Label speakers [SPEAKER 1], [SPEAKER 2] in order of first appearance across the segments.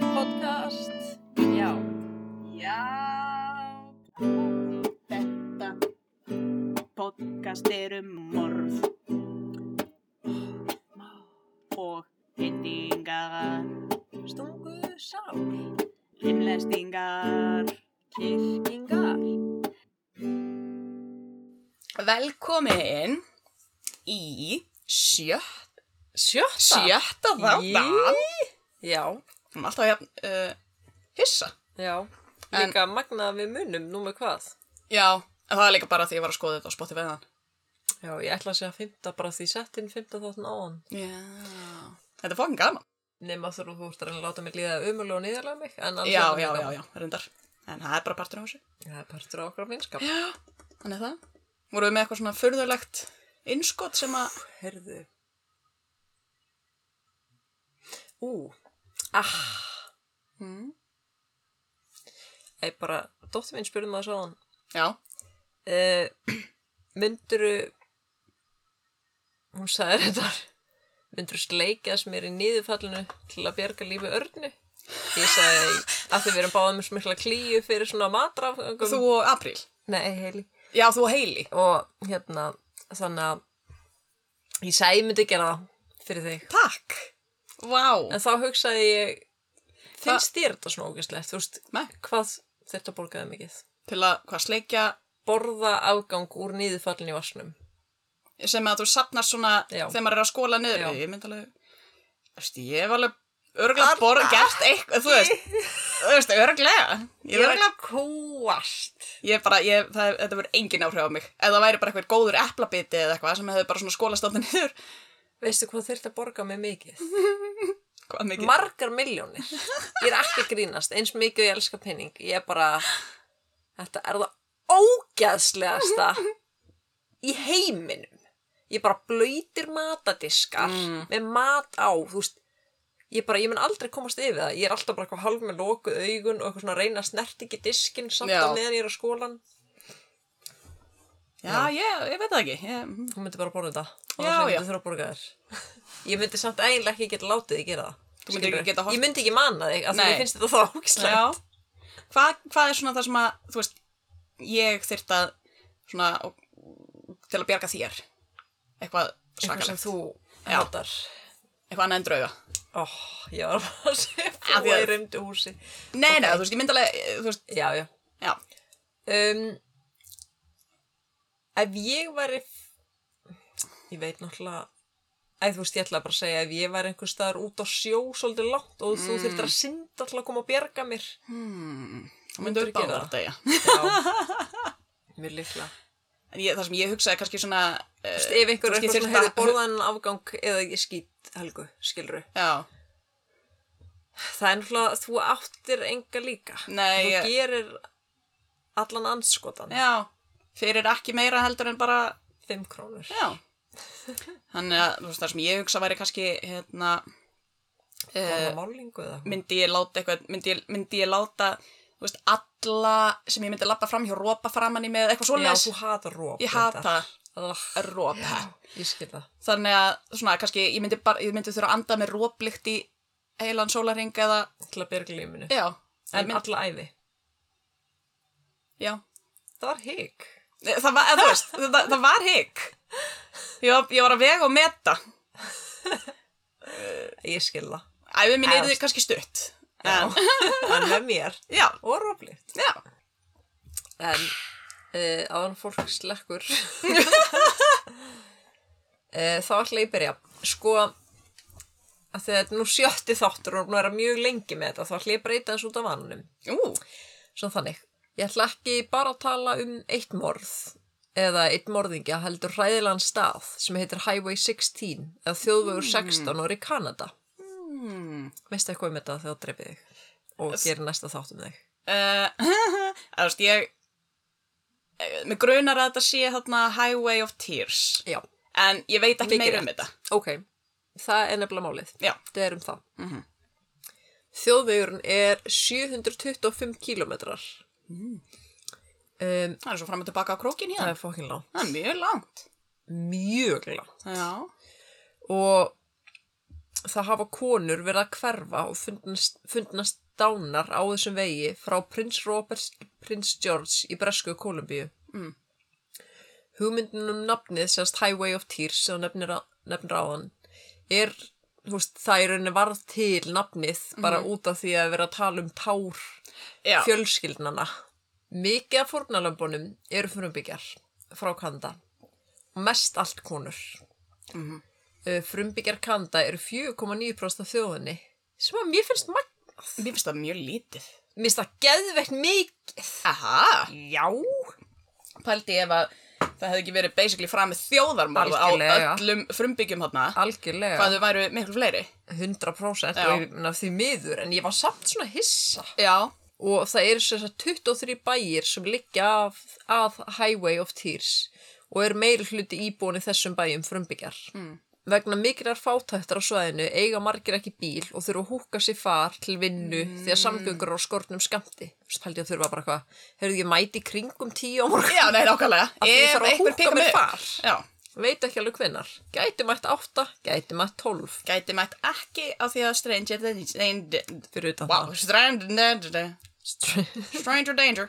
[SPEAKER 1] podcast Já Já Þetta podcast er um morð og hendingar stungu sál limlestingar kirkingar
[SPEAKER 2] Velkomin í sjötta,
[SPEAKER 1] Sjötta
[SPEAKER 2] sjötta þáttan. Já, við erum alltaf jafn uh, hissa.
[SPEAKER 3] Já,
[SPEAKER 2] En-
[SPEAKER 3] líka magnað að við munum, nú með hvað?
[SPEAKER 2] Já, en það er líka bara því ég var að skoða þetta á spotti veðan.
[SPEAKER 3] Já, ég ætla að segja fymta bara því sett inn fymta þáttan á hann.
[SPEAKER 2] Já. Þetta er fókin gaman.
[SPEAKER 3] Nefn að þú þú ert að reyna að láta mig líða umölu og niðurlega mig, en
[SPEAKER 2] Já, já, já, já, reyndar. En það er bara partur á þessu.
[SPEAKER 3] Það er partur á okkar minnskap.
[SPEAKER 2] Já, þannig er það. Vorum við með eitthvað svona furðulegt innskot sem að...
[SPEAKER 3] Herðu. Ú, ah,
[SPEAKER 2] Mm.
[SPEAKER 3] ég bara, dóttir mín spurði maður sáðan,
[SPEAKER 2] Já,
[SPEAKER 3] uh, mynduru, hún sagði þetta, mynduru sleikjast mér í niðurfallinu til að bjarga lífi örnu? Ég sagði að þið verðum báðum með svo mikla klíu fyrir svona matrafgöngum.
[SPEAKER 2] þú og Apríl.
[SPEAKER 3] Nei, heili.
[SPEAKER 2] Já, þú og Heili.
[SPEAKER 3] Og hérna, þannig að ég sagði ég myndi gera það fyrir þig.
[SPEAKER 2] Takk. Vá.
[SPEAKER 3] En þá hugsaði ég, finnst þér þetta svona ógæstlegt? Þú veist,
[SPEAKER 2] Nei.
[SPEAKER 3] hvað þetta borgaði mikið?
[SPEAKER 2] Til að hvað sleikja
[SPEAKER 3] Borða afgang úr nýðufallin í vassnum.
[SPEAKER 2] sem að þú sapnar svona
[SPEAKER 3] Já.
[SPEAKER 2] þegar maður er að skóla niður
[SPEAKER 3] Já.
[SPEAKER 2] ég mynd alveg Æst, ég hef alveg örgulega borð gert eitthvað þú veist, þú veist örgulega ég, ég, örgulega,
[SPEAKER 3] kóast.
[SPEAKER 2] ég bara, ég, það, þetta verður engin áhrif á mig ef það væri bara eitthvað góður eplabiti eða eitthvað sem hefði bara svona skólast áttan niður
[SPEAKER 3] Veistu hvað þurfti að borga mig mikið?
[SPEAKER 2] hvað mikið,
[SPEAKER 3] Margar miljónir. Ég er ekki að grínast, eins mikið og ég elska penning. Ég er bara, þetta er það ógæðslegasta í heiminum. Ég bara blöytir matadiskar
[SPEAKER 2] Mm.
[SPEAKER 3] með mat á, þú veist, ég bara, ég mun aldrei komast yfir það. Ég er alltaf bara eitthvað hálf með lokuð augun og eitthvað svona að reyna að snert ekki diskin samt
[SPEAKER 2] Já.
[SPEAKER 3] að meðan ég er á skólan.
[SPEAKER 2] já, ég, ég veit það ekki ég, mhm.
[SPEAKER 3] Hún myndi bara borða þetta.
[SPEAKER 2] Já,
[SPEAKER 3] Annars
[SPEAKER 2] já.
[SPEAKER 3] myndi þurfa að borga þér. Ég myndi samt eiginlega ekki geta látið þig gera það.
[SPEAKER 2] Þú myndir ekki
[SPEAKER 3] Skilurðu?
[SPEAKER 2] geta horft-
[SPEAKER 3] Ég myndi ekki manna þig, af því
[SPEAKER 2] Nei.
[SPEAKER 3] ég finnst þetta þá ógislegt.
[SPEAKER 2] já hvað, hvað er svona það sem að þú veist, ég þyrt að svona, og, til að bjarga þér eitthvað
[SPEAKER 3] Eitthvað sem
[SPEAKER 2] svakalegt,
[SPEAKER 3] þú
[SPEAKER 2] Já.
[SPEAKER 3] hatar.
[SPEAKER 2] eitthvað annað en drauga
[SPEAKER 3] Ó, ég var bara að segja
[SPEAKER 2] Af því
[SPEAKER 3] búa
[SPEAKER 2] að-
[SPEAKER 3] í reymdu húsi.
[SPEAKER 2] nei, nei, þú veist, ég mynd alveg þú veist,
[SPEAKER 3] Já, já.
[SPEAKER 2] já,
[SPEAKER 3] Um, ef ég væri... Ég veit náttúrulega... Æ, þú veist, ég ætla bara að segja, ef ég væri einhver staðar út á sjó svolítið langt og þú þurftir að synda alltaf að koma og bjarga mér.
[SPEAKER 2] þú myndur
[SPEAKER 3] Myndirðu gera það?
[SPEAKER 2] báðar þetta, já
[SPEAKER 3] Já, mjög líklega.
[SPEAKER 2] En ég, það sem ég hugsaði kannski svona uh,
[SPEAKER 3] Þú veist, ef einhver er eitthvað svona hefur
[SPEAKER 2] borða
[SPEAKER 3] borðan afgang eða ég skýt helgu, skilru.
[SPEAKER 2] Já,
[SPEAKER 3] Það er náttúrulega, þú áttir enga líka.
[SPEAKER 2] Nei,
[SPEAKER 3] Þú
[SPEAKER 2] ég-
[SPEAKER 3] gerir allan anskotan.
[SPEAKER 2] já, fyrir ekki meira heldur en bara
[SPEAKER 3] Fimm krónur.
[SPEAKER 2] Já Þannig að þú veist, það sem ég hugsaði væri kannski hérna,
[SPEAKER 3] Borða
[SPEAKER 2] uh,
[SPEAKER 3] málingu eða?
[SPEAKER 2] myndi ég láta eitthvað myndi ég, myndi ég láta þú veist, alla sem ég myndi lappa fram hjá rópa framann í mig eða eitthvað
[SPEAKER 3] Já,
[SPEAKER 2] svoleiðis
[SPEAKER 3] þú hatar róp.
[SPEAKER 2] Ég hata
[SPEAKER 3] Oh,
[SPEAKER 2] rópa
[SPEAKER 3] ég skil það.
[SPEAKER 2] Þannig að svona, kannski ég myndi, bara, ég myndi þurfa að anda með róplikt í heilan sólaring eða
[SPEAKER 3] Til að berga lífinu.
[SPEAKER 2] Já, ég
[SPEAKER 3] En
[SPEAKER 2] myndi,
[SPEAKER 3] alla æfi.
[SPEAKER 2] já
[SPEAKER 3] Það var hygg.
[SPEAKER 2] Það var, eða, þú veist, það, það var hygg. Ég var, ég var að vega og meta.
[SPEAKER 3] Ég skil það.
[SPEAKER 2] Æfið mín
[SPEAKER 3] Æ,
[SPEAKER 2] er
[SPEAKER 3] þú veist.
[SPEAKER 2] kannski stutt.
[SPEAKER 3] Já.
[SPEAKER 2] En,
[SPEAKER 3] En með mér.
[SPEAKER 2] já,
[SPEAKER 3] Og róplitt.
[SPEAKER 2] já.
[SPEAKER 3] En uh, áðan fólk slekkur uh, Þá ætla ég að byrja Sko að því að þetta er nú sjötti þáttur og nú er að mjög lengi með þetta þá ætla ég að breyta þessu út af vanunum
[SPEAKER 2] Ú,
[SPEAKER 3] Svo þannig Ég ætla ekki bara að tala um eitt morð eða eitt morðingja heldur hræðilegan stað sem heitir Highway 16 eða þjóðvegur 16 og er í Kanada Veistu eitthvað um þetta þegar það dreipið þig og gerir næsta þátt um þig
[SPEAKER 2] uh, þú veist, ég, mér grunar að þetta sé þarna Highway of Tears.
[SPEAKER 3] Já,
[SPEAKER 2] En ég veit ekki
[SPEAKER 3] Mikið
[SPEAKER 2] meira um
[SPEAKER 3] rétt.
[SPEAKER 2] þetta.
[SPEAKER 3] ok, það er nefnilega málið
[SPEAKER 2] Já, Mhm.
[SPEAKER 3] Þetta er um það. Þjóðvegurinn er 725 kílómetrar.
[SPEAKER 2] Mm.
[SPEAKER 3] Um,
[SPEAKER 2] það er svo fram og tilbaka á krókin
[SPEAKER 3] það
[SPEAKER 2] hér.
[SPEAKER 3] er fokkin langt.
[SPEAKER 2] Það er mjög langt.
[SPEAKER 3] Mjög langt.
[SPEAKER 2] Já.
[SPEAKER 3] Og það hafa konur verið að hverfa og fundnast, fundnast dánar á þessum vegi frá prins Robert prins George í Bresku Kolumbíu.
[SPEAKER 2] Mm.
[SPEAKER 3] Hugmyndin um nafnið, sérst Highway of Tears sem þú nefnir, á- nefnir á hann, er, þú veist, það er henni varð til nafnið bara út af því að vera að tala um tár
[SPEAKER 2] Já.
[SPEAKER 3] fjölskyldnana. Mikið af fórnalömbunum eru frumbyggjar frá Kanda og mest allt konur.
[SPEAKER 2] Mhm.
[SPEAKER 3] Mm Frumbyggjar Kanda eru 4,9% af þjóðinni sem að mér finnst magn
[SPEAKER 2] Mér finnst það mjög lítið.
[SPEAKER 3] Mér finnst það geðveikt mikið.
[SPEAKER 2] Aha.
[SPEAKER 3] Já.
[SPEAKER 2] Pældi ef að það hefði ekki verið basically framið þjóðarmorð á
[SPEAKER 3] Algjörlega.
[SPEAKER 2] öllum frumbyggjum þarna.
[SPEAKER 3] Algjörlega.
[SPEAKER 2] Hvað þau væru miklu fleiri.
[SPEAKER 3] 100%
[SPEAKER 2] Já.
[SPEAKER 3] og ég meina því miður en ég var samt svona hissa.
[SPEAKER 2] Já.
[SPEAKER 3] Og það eru sem sagt 23 bæir sem liggja af, að Highway of Tears og er meiri hluti íbúin í þessum bæjum frumbyggjar.
[SPEAKER 2] Hmm.
[SPEAKER 3] Mm. Vegna mikillar fátættar á svæðinu eiga margir ekki bíl og þurfa að húka sér far til vinnu
[SPEAKER 2] Hmm.
[SPEAKER 3] því að samgöngur eru á skortnum skamti. Þú veist, held ég að þurfa bara hvað, heyrðu ég mæti í kringum tíu á morgun.
[SPEAKER 2] Já, nei, nákvæmlega.
[SPEAKER 3] Af því ég þarf að
[SPEAKER 2] einhver
[SPEAKER 3] húka
[SPEAKER 2] pikkar
[SPEAKER 3] mér
[SPEAKER 2] mig upp.
[SPEAKER 3] far.
[SPEAKER 2] Já.
[SPEAKER 3] Veit ekki alveg hvenar. Gæti mætt átta, gæti mætt tólf.
[SPEAKER 2] Gæti mætt ekki á því að stranger danger.
[SPEAKER 3] Fyrir utan
[SPEAKER 2] Wow, stranger danger.
[SPEAKER 3] það.
[SPEAKER 2] Stranger danger.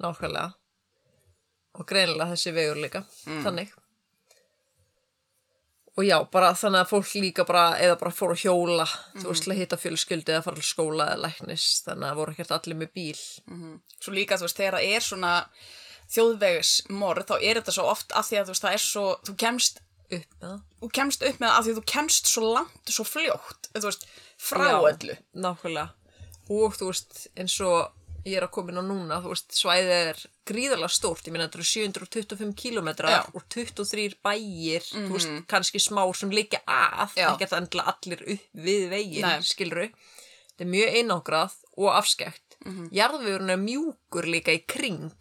[SPEAKER 3] Nákvæmlega. Og greinilega þessi vegur líka. Þannig. Og já, bara þannig að fólk líka bara, eða bara fór að hjóla, þú veist, til að hitta fjölskyldi eða fara til skóla eða læknis, þannig að voru ekkert allir með bíl.
[SPEAKER 2] svo líka þú veist þegar það er svona þjóðvegismorð þá er þetta svo oft af því að þú veist það er svo þú kemst,
[SPEAKER 3] Upp með það.
[SPEAKER 2] þú kemst upp með það af því að þú kemst svo langt svo fljótt þú veist frá
[SPEAKER 3] Já,
[SPEAKER 2] öllu
[SPEAKER 3] Nákvæmlega. Og þú veist, eins og ég er að koma inn á núna, þú veist, svæðið er gríðarlega stórt, ég meina þetta eru 725
[SPEAKER 2] Já. Mhm.
[SPEAKER 3] kílometrar og 23 bæir, þú veist, kannski smá sem liggja að,
[SPEAKER 2] Já.
[SPEAKER 3] ekkert endilega allir upp við veginn,
[SPEAKER 2] Nei.
[SPEAKER 3] skilru. Þetta er mjög einangrað og afskekt. Mm
[SPEAKER 2] Mhm.
[SPEAKER 3] -hmm. Jarðvegurinn er mjúkur líka í kring,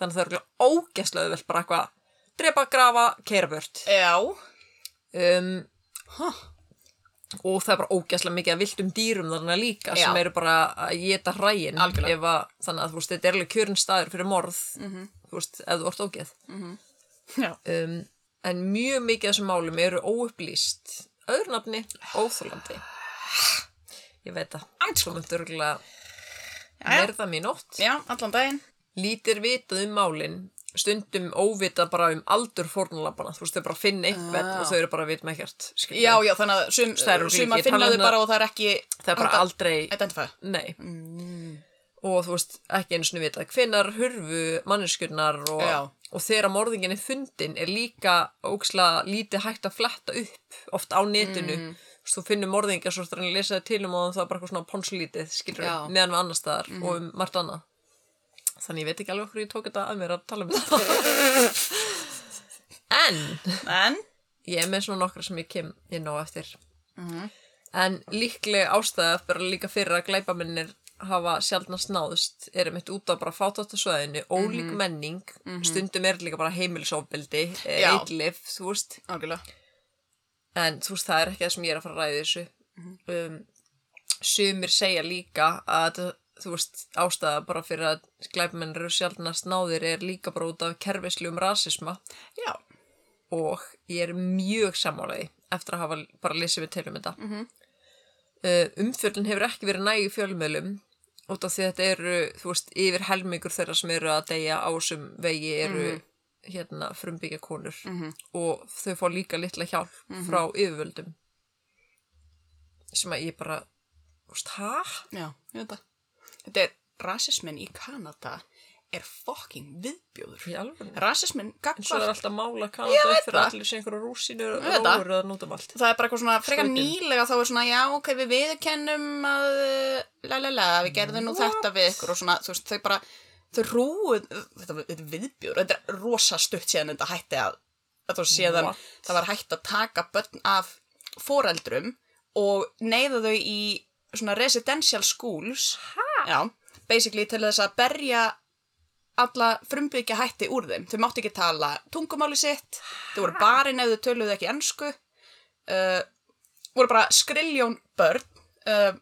[SPEAKER 3] þannig að það eru ógæslega vel bara eitthvað, drepa, grafa, keira bört.
[SPEAKER 2] já,
[SPEAKER 3] Um,
[SPEAKER 2] huh.
[SPEAKER 3] og það er bara ógæslega mikið að viltum dýrum þarna líka
[SPEAKER 2] Já.
[SPEAKER 3] sem eru bara að geta hræin
[SPEAKER 2] Algjörlega. Mhm.
[SPEAKER 3] ef að, þannig að þú veist, þetta er alveg kjörn staður fyrir morð þú veist, ef þú ert ógeð
[SPEAKER 2] já.
[SPEAKER 3] um, en mjög mikið af þessum málum eru óupplýst öðru nafni, óþólandi ég veit það þú myndur örgulega
[SPEAKER 2] Jæja.
[SPEAKER 3] verða mér nótt
[SPEAKER 2] já, allan daginn
[SPEAKER 3] lítir vitað um málin stundum óvita bara um aldur fórnulambana, þú veist, þau bara finna einhvern
[SPEAKER 2] Ah.
[SPEAKER 3] og þau eru bara að vita með ekkert skilurðu.
[SPEAKER 2] já, já, þannig að sum,
[SPEAKER 3] Það eru
[SPEAKER 2] suma
[SPEAKER 3] ríkir,
[SPEAKER 2] finna
[SPEAKER 3] talað
[SPEAKER 2] þau
[SPEAKER 3] um
[SPEAKER 2] bara og það er ekki
[SPEAKER 3] það er bara aldrei
[SPEAKER 2] identify
[SPEAKER 3] Nei.
[SPEAKER 2] Mm.
[SPEAKER 3] Og þú veist, ekki einu svona vita hvinnar hurfu manneskurnar
[SPEAKER 2] Já.
[SPEAKER 3] og, og þegar morðingin er fundin er líka óksla lítið hægt að fletta upp oft á netinu.
[SPEAKER 2] Mm.
[SPEAKER 3] Þú veist, þú finnur morðingja svo þannig að lesa það til um og það er bara eitthvað svona ponsulítið, skilur
[SPEAKER 2] Já. Mm.
[SPEAKER 3] meðan við annars staðar og um margt annað. Þannig ég veit ekki alveg hverju ég tók þetta að mér að tala um þetta. en
[SPEAKER 2] en,
[SPEAKER 3] ég er með svona nokkra sem ég kem ég nóg eftir en líklega ástæða bara líka fyrir að glæpamennir hafa sjaldnast náðust er einmitt út af bara fátáttarsvæðinu ólík menning, stundum er líka bara heimilisofbeldi,
[SPEAKER 2] Já.
[SPEAKER 3] eitlif þú veist,
[SPEAKER 2] algjörlega
[SPEAKER 3] en þú veist það er ekki það sem ég er að fara að ræða í þessu um, sumir segja líka að þetta, þú veist ástæða bara fyrir að glæpamennir eru sjaldnast náðir er líka bara út af kerfislegum rasisma
[SPEAKER 2] já,
[SPEAKER 3] og ég er mjög sammálaði eftir að hafa bara lesið við til um þetta. Mm
[SPEAKER 2] Mhm.
[SPEAKER 3] -hmm. umfjöllin hefur ekki verið nægi fjölmiðlum út af því að þetta eru, þú veist, yfir helmingur þeirra sem eru að deyja á þessum vegi eru
[SPEAKER 2] Mhm.
[SPEAKER 3] hérna frumbyggja konur -hmm. og þau fá líka litla hjálp
[SPEAKER 2] Mhm.
[SPEAKER 3] frá yfirvöldum sem að ég bara, þú veist, hæ?
[SPEAKER 2] já, ég veit það þetta er, rasismin í Kanada er fucking viðbjóður
[SPEAKER 3] Í alveg?
[SPEAKER 2] rasismin
[SPEAKER 3] En svo er
[SPEAKER 2] gagvart
[SPEAKER 3] alltaf mála kannat upp
[SPEAKER 2] veit
[SPEAKER 3] fyrir
[SPEAKER 2] það.
[SPEAKER 3] allir sem einhverja rúsinu
[SPEAKER 2] Ég veit það.
[SPEAKER 3] róur eða nótum um allt.
[SPEAKER 2] það er bara eitthvað svona frekar
[SPEAKER 3] Skrýtin.
[SPEAKER 2] nýlega þá er svona já ok við viðurkennum að eh, la la la við gerðum nú þetta við ykkur og svona þú veist þau bara þau rúið þetta er viðbjör þetta er rosa stutt síðan þetta hætti að, að þú séðan
[SPEAKER 3] What?
[SPEAKER 2] það var hætt að taka börn af foreldrum og neyða þau í svona residential schools ha? já basically til þess að berja alla frumbyggja hætti úr þeim þau mátti ekki tala tungumáli sitt þau voru barinn ef þau töluðu ekki ennsku uh, voru bara skriljón börn uh,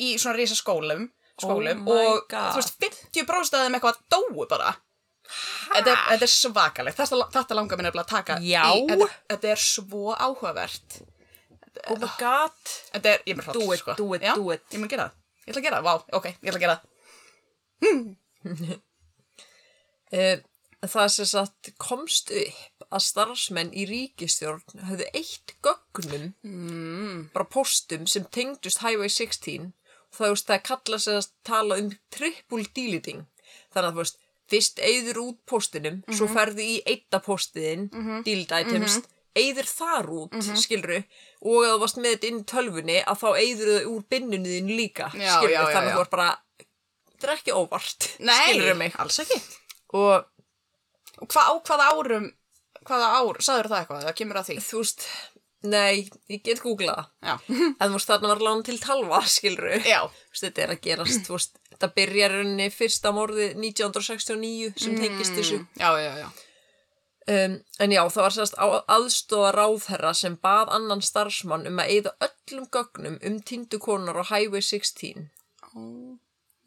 [SPEAKER 2] í svona risa skólum, skólum
[SPEAKER 3] Oh my
[SPEAKER 2] og
[SPEAKER 3] God.
[SPEAKER 2] þú veist 50% af þeim eitthvað dóu bara þetta er, þetta er svakalegt þetta, þetta langar mér nefnilega að taka
[SPEAKER 3] Já.
[SPEAKER 2] í þetta, þetta er svo áhugavert
[SPEAKER 3] Oh my god!
[SPEAKER 2] þetta er, ég mun hrótt
[SPEAKER 3] Do it, do it,
[SPEAKER 2] Já,
[SPEAKER 3] do it.
[SPEAKER 2] ég mun gera það Ég ætla að gera það, vá, ok, ég ætla að gera það.
[SPEAKER 3] Eh, Það sem sagt komst upp að starfsmenn í ríkistjórn höfðu eitt gögnum, mm. bara póstum sem tengdust Highway 16 og það, þú veist, það kalla sem að tala um triple deleting. Þannig að þú veist, fyrst eyður út póstinum, svo
[SPEAKER 2] Mhm.
[SPEAKER 3] ferðu í eitta póstiðin, mm -hmm. delete items, eyður þar út,
[SPEAKER 2] Mhm.
[SPEAKER 3] mm skilru, og að þú varst með þetta inn í tölfunni að þá eyður þau úr binnunni þín líka,
[SPEAKER 2] Já,
[SPEAKER 3] skilru,
[SPEAKER 2] já, já,
[SPEAKER 3] þannig að
[SPEAKER 2] já.
[SPEAKER 3] þú var bara, þetta er ekki óvart,
[SPEAKER 2] Skilurðu
[SPEAKER 3] skilru mig.
[SPEAKER 2] mig, alls ekki.
[SPEAKER 3] Og
[SPEAKER 2] Og hva, á hvaða árum, hvaða ár, sagður það eitthvað, það kemur að því.
[SPEAKER 3] þú veist, nei, ég get googlað það.
[SPEAKER 2] Já,
[SPEAKER 3] En þú veist, þarna var lán til talva, skilru.
[SPEAKER 2] já,
[SPEAKER 3] Þú veist, þetta er að gerast, þú veist, þetta byrjar í rauninni fyrsta morði 1969 sem tengist þessu.
[SPEAKER 2] já, já, já.
[SPEAKER 3] Um, en já, það var sérst aðstofa ráðherra sem bað annan starfsmann um að eyða öllum gögnum um tindukonar á Highway 16.